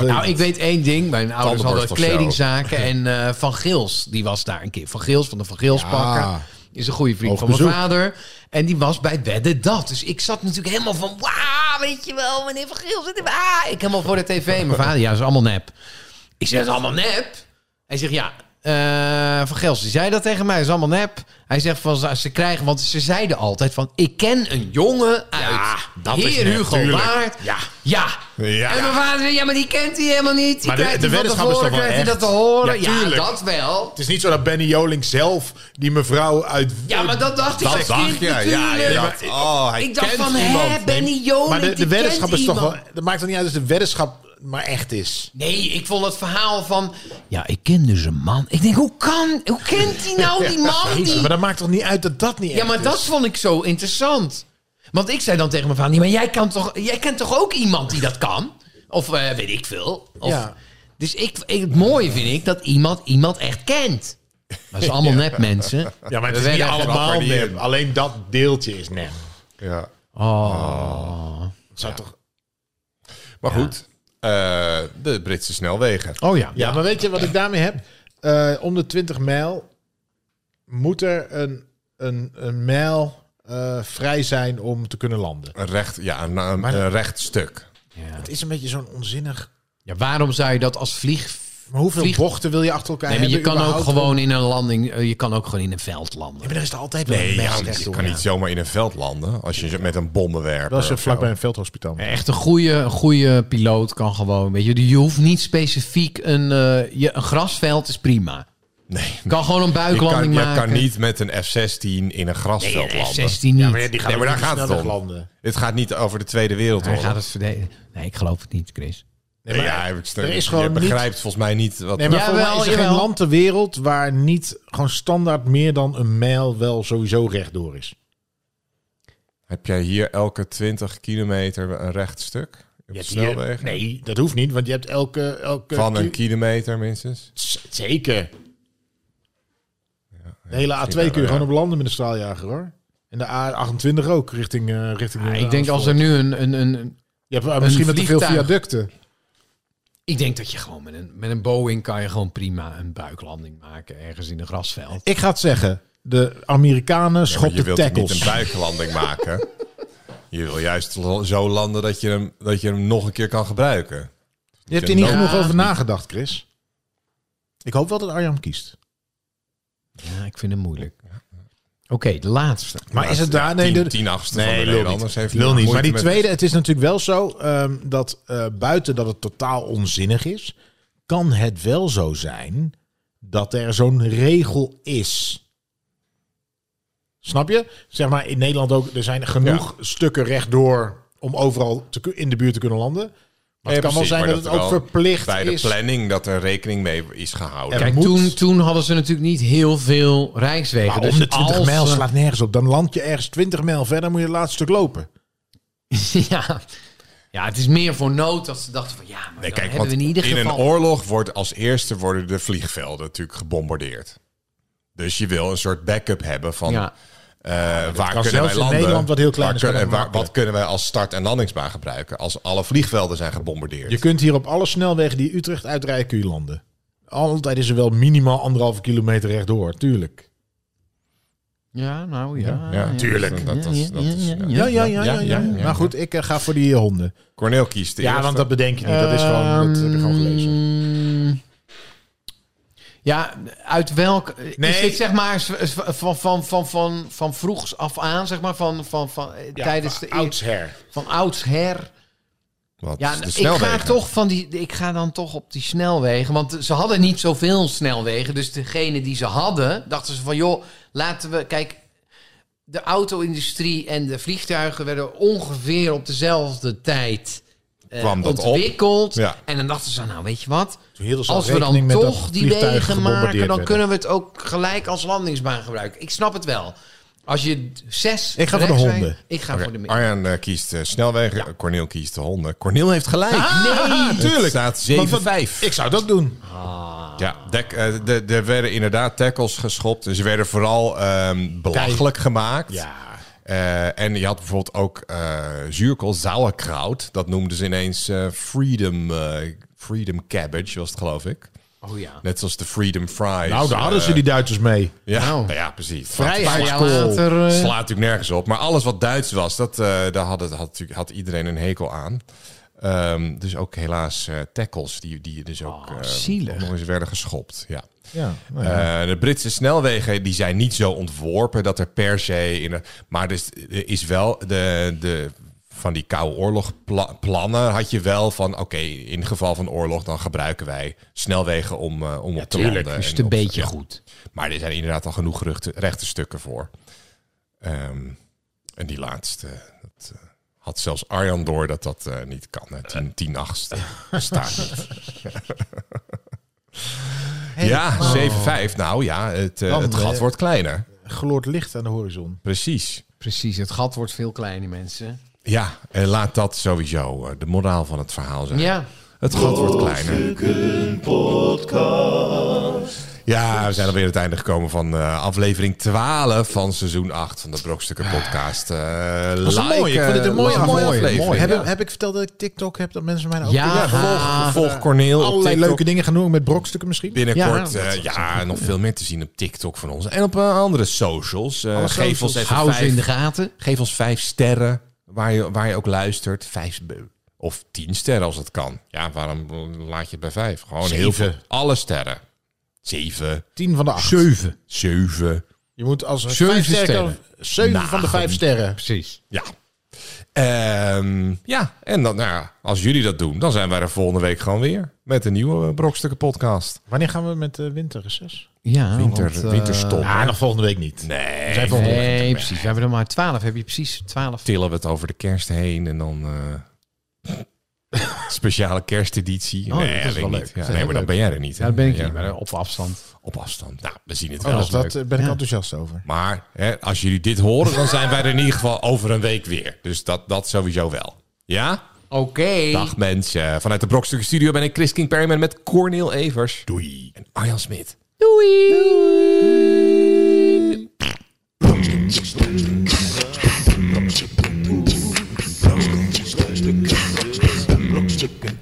Nou, ik weet één ding. Mijn ouders hadden
Tandenborstel
kledingzaken. En eh, Van Gils, die was daar een keer. Van Gils van de Van Gils
Ja.
pakker. Is een goede vriend
Hoog
van mijn
bezoek.
vader. En die was bij Wedden Dat. Dus ik zat natuurlijk helemaal van... Wauw, weet je wel, meneer Van Gils. dit- Ah, ik helemaal voor de tv. Mijn vader, ja, dat is allemaal nep. Ik zeg, dat is allemaal nep? Hij zegt, ja... eh, van Gils, die zei dat tegen mij, dat is allemaal nep. Hij zegt van ze- ze krijgen, want ze zeiden altijd van ik ken een jongen uit
dat is
Heer
nep,
Hugo
tuurlijk.
Waard.
Ja.
Ja.
Ja.
En mijn vader zei, ja, maar die kent hij helemaal niet. Die
Maar de-
krijgt
de
hij van
weddenschap is
tevoren,
toch wel
krijgt hij dat
echt?
te horen.
Ja,
Ja,
tuurlijk.
dat wel.
Het is niet zo dat Benny Joling zelf die mevrouw uit...
Ja, maar dat dacht ik
Dat
als
dacht
kind
je. Ja, ja,
natuurlijk.
ja. Oh, hij
ik dacht
kent
van,
iemand.
hè,
Nee,
Benny Joling,
Maar de,
die
de weddenschap
kent
is toch
iemand.
wel... Dat maakt toch niet uit als de weddenschap maar echt is.
Nee, ik vond het verhaal van... Ja, ik ken dus een man. Ik denk, hoe kan... Hoe kent die nou die man?
Jezus,
Die,
maar dat maakt toch niet uit dat dat niet
ja,
echt
maar
is?
dat vond ik zo interessant. Want ik zei dan tegen mijn vader... "Nee, maar jij, kan toch, jij kent toch ook iemand die dat kan? Of eh, weet ik veel. Of,
Ja.
Dus ik, ik- het mooie vind ik dat iemand iemand echt kent. Maar ze zijn allemaal net mensen.
Ja, maar het
We
is niet
werden echt
allemaal
grappig, die-
nep. Alleen dat deeltje is nep.
Ja.
Oh.
Het Zou toch...
Maar goed, eh, de Britse snelwegen.
Oh ja.
Ja, maar weet je wat ik daarmee heb? Eh, om de 20 mijl moet er een, een, een mijl eh, vrij zijn om te kunnen landen.
Een recht, ja, een, een,
Maar-
een recht stuk.
Ja.
Het is een beetje zo'n onzinnig...
Ja, waarom zou je dat als vlieg...
Maar hoeveel
Vlieg-
bochten wil je achter elkaar
Nee, maar
hebben?
je kan ook
überhaupt?
gewoon in een landing... eh, Je kan ook gewoon in een veld landen.
Ja, maar er is er altijd wel een
Nee,
mijl
ja,
recht
je
door.
kan niet zomaar in een veld landen als je met een bommenwerper.
Dat is
of zo.
vlakbij een veldhospitaal.
Echt een goede, een goede piloot kan gewoon... Weet je, je hoeft niet specifiek een... eh, je, een grasveld is prima.
Nee.
Je kan gewoon een
Je kan,
buiklanding
je
maken.
kan niet met een F-16 in een grasveld
Nee, een
landen.
F-16 niet.
die
Nee, maar daar gaat het om.
landen.
Het gaat niet over de Tweede
Hij
Wereldoorlog.
gaat het verdedigen. Nee, ik geloof het niet, Chris.
Nee, maar
ja, ik,
er is
je
gewoon niet...
begrijpt volgens mij niet wat...
Nee, maar
Ja,
voor mij
wel,
is er geen
jawel.
land ter wereld waar niet gewoon standaard meer dan een mijl wel sowieso rechtdoor is.
Heb jij hier elke 20 kilometer een recht stuk? Op de snelweg?
nee, dat hoeft niet, want je hebt elke... elke
Van een
ki-
kilometer minstens?
Z- Zeker. De hele A2 kun je
wel, ja.
gewoon op landen met een straaljager hoor. En de A28 ook, richting... eh, richting eh,
Ah, ik denk als er
Amersfoort.
nu een, een, een, een-
Je hebt eh, misschien wel te veel
vliegtuig-
viaducten.
Ik denk dat je gewoon met een, met een Boeing kan je gewoon prima een buiklanding maken ergens in een grasveld.
Ik ga het zeggen. De Amerikanen
Ja, maar je
schopten
wilt toch niet
tackles.
een buiklanding maken. Je wil juist lo- zo landen dat je hem, dat je hem nog een keer kan gebruiken.
Je hebt er niet
Ja.
genoeg over nagedacht, Chris. Ik hoop wel dat Arjan kiest.
Ja, ik vind het moeilijk. Oké, de laatste.
Maar is het daar... Nee,
Nee,
de-
tien, tien achtste
Nee,
van de
lul
Nederlanders
niet.
heeft
Lul
nog
niet. Maar
moeite
die
met-
tweede, het is natuurlijk wel zo ehm, dat eh, buiten dat het totaal onzinnig is, kan het wel zo zijn dat er zo'n regel is. Snap je? Zeg maar in Nederland ook, er zijn genoeg stukken rechtdoor om overal te, ku- in de buurt te kunnen landen. Maar
Ja,
het kan wel
precies,
zijn
maar
dat het
er
ook
wel
verplicht
Bij de
is.
planning dat er rekening mee is gehouden.
Ja,
Kijk,
moet.
toen, toen hadden ze natuurlijk niet heel veel rijkswegen.
Maar
dus
om de 20
als
mijl
we-
eh,
slaat nergens op. Dan land je ergens 20 mijl verder, moet je het laatste stuk lopen.
ja. ja, het is meer voor nood dat ze dachten van ja, maar
Nee,
dan
kijk,
hebben
want
we in ieder
in een
geval...
oorlog wordt als eerste worden de vliegvelden natuurlijk gebombardeerd. Dus je wil een soort backup hebben van
ja.
eh, waar
kan
kunnen
zelfs
wij
in
landen.
Nederland wat heel klein
waar
is, kan
kunnen-
dat
waar-
makkelijk.
wat kunnen wij als start- en landingsbaan gebruiken als alle vliegvelden zijn gebombardeerd?
Je kunt hier op alle snelwegen die Utrecht uitrijden, kun je landen. Altijd is er wel minimaal anderhalve kilometer rechtdoor, tuurlijk.
ja, nou ja.
Ja, tuurlijk.
ja,
Dat- dat is- dat is-
ja,
ja.
ja.
Ja, ja, ja, ja.
ja,
ja,
ja, ja.
Maar goed, ik eh, ga voor die eh, honden.
Corneel kiest de
Ja,
eerste.
want dat bedenk je niet. Dat is gewoon, dat heb ik
Hmm.
gewoon gelezen.
Ehm, Ja, uit welk... Is
Nee.
dit zeg maar s- s- van, van, van, van, van vroegs af aan, zeg maar, van, van, van, eh, tijdens de...
oudsher.
Van oudsher.
Wat
Ja,
is Dus de
ik
snelwegen?
ga, toch van die, ik ga dan toch op die snelwegen. Want ze hadden niet zoveel snelwegen. Dus degene die ze hadden, dachten ze van... joh, laten we... Kijk, de auto-industrie en de vliegtuigen... werden ongeveer op dezelfde tijd eh,
Kwam dat op?
ontwikkeld.
Ja,
En dan dachten ze, nou weet je wat...
Heel
Als we dan toch die wegen maken, dan kunnen we het ook gelijk als landingsbaan gebruiken. Ik snap het wel. Als je d- zes.
Ik ga voor de
rechts
honden.
rijdt, Ik ga voor de min.
Arjan eh, kiest eh, snelweg, Corneel kiest de honden. Corneel heeft gelijk.
nee,
Tuurlijk.
Ah, tuurlijk.
Het staat
Want wat-
7-5.
Ik zou het ook doen.
Ja, dek, eh, de- er werden inderdaad tackles geschopt. Ze werden vooral ehm, belachelijk gemaakt.
Ja.
Eh, en je had bijvoorbeeld ook eh zuurkool, sauerkraut. Dat noemden ze ineens eh, freedom, eh, freedom cabbage, was het geloof ik.
Oh ja.
Net zoals de freedom fries.
Nou, daar hadden
eh,
ze die Duitsers mee.
Ja,
Nou.
nou ja precies.
Vrij
Slaat-
een jaar
Vaarskool.
later. eh,
Slaat natuurlijk nergens op. Maar alles wat Duits was, dat, eh, daar had, het, had, natuurlijk- had iedereen een hekel aan. Ehm, dus ook helaas eh, tackles die, die je dus ook eh,
Oh, zielig.
nog eens werden geschopt. Ja.
Ja, nou ja.
Eh, de Britse snelwegen die zijn niet zo ontworpen dat er per se in. een- maar dus, er is wel de, de, van die koude oorlog pla- plannen had je wel van oké, in geval van oorlog dan gebruiken wij snelwegen om, eh, om op te landen.
Is het
en
een
op-
beetje
ja.
goed.
Maar er zijn inderdaad al genoeg geruchte, rechte stukken voor. Ehm, en die laatste, dat, eh, had zelfs Arjan door dat dat eh, niet kan. hè. 10 10 achtste staat niet. ja, 7-5. Nou ja, het, eh,
Dan,
het gat
eh,
wordt kleiner.
Gloort licht aan de horizon.
Precies.
Precies, het gat wordt veel kleiner, mensen.
Ja, en laat dat sowieso eh, de moraal van het verhaal zijn.
Ja.
Het gat wordt kleiner. Ja, we zijn alweer aan het einde gekomen van eh, aflevering 12 van seizoen 8 van de Brokstukken podcast. Eh
Dat eh, was een mooie. Ik vond het een mooie,
was
aflevering.
aflevering,
Heb,
ja.
heb ik verteld dat ik TikTok heb? Dat mensen mij nou ook
Ja.
kunnen
volg,
volgen?
volg Corneel op
Allerlei
TikTok.
leuke dingen gaan doen met brokstukken misschien.
Binnenkort
Ja,
ja,
dat
ja, nog veel meer te zien op TikTok van ons. En op eh, andere socials. Eh,
Alle
geef,
socials.
Ons even
Hou ze in de
vijf,
gaten.
geef ons vijf sterren, waar je, waar je ook luistert. Vijf be- of tien sterren als dat kan. Ja, waarom laat je het bij vijf? Gewoon heel
Zeven.
veel. Alle sterren. Zeven,
10 van de 8.
zeven.
Je moet als
Zeven
vijf sterren-
sterren.
Zeven
Nou,
van de vijf sterren.
Precies.
Ja. Ehm, ja, en dan, nou, ja, als jullie dat doen, dan zijn wij er volgende week gewoon weer. Met een nieuwe eh, Brokstukken podcast.
Wanneer gaan we met eh, de winterreces?
Ja,
Winter,
want, eh,
winterstop.
Ah, nog volgende week niet.
nee.
Zij volgende week.
Nee, precies. We hebben er maar twaalf. Heb je precies twaalf.
tillen we het over de kerst heen en dan. eh, speciale kersteditie.
Oh,
nee,
dat is
weet
wel
ik
leuk.
niet.
Dat
Ja,
is
nee,
heel
maar dan
leuk.
ben jij er niet. hè?
Ja, dat ben ik
Ja,
niet, maar op afstand.
Op afstand. Nou, we zien het
Oh,
wel.
dat, dat
Leuk.
eh, ben ik
Ja.
enthousiast over.
Maar hè, als jullie dit horen, dan zijn wij er in ieder geval over een week weer. Dus dat, dat sowieso wel. Ja?
Oké.
Dag mensen. Vanuit de Brokstukken Studio ben ik Chris King Perryman met Cornel Evers. Doei. En Arjan Smit.
Brokstukken.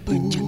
Brokstukken.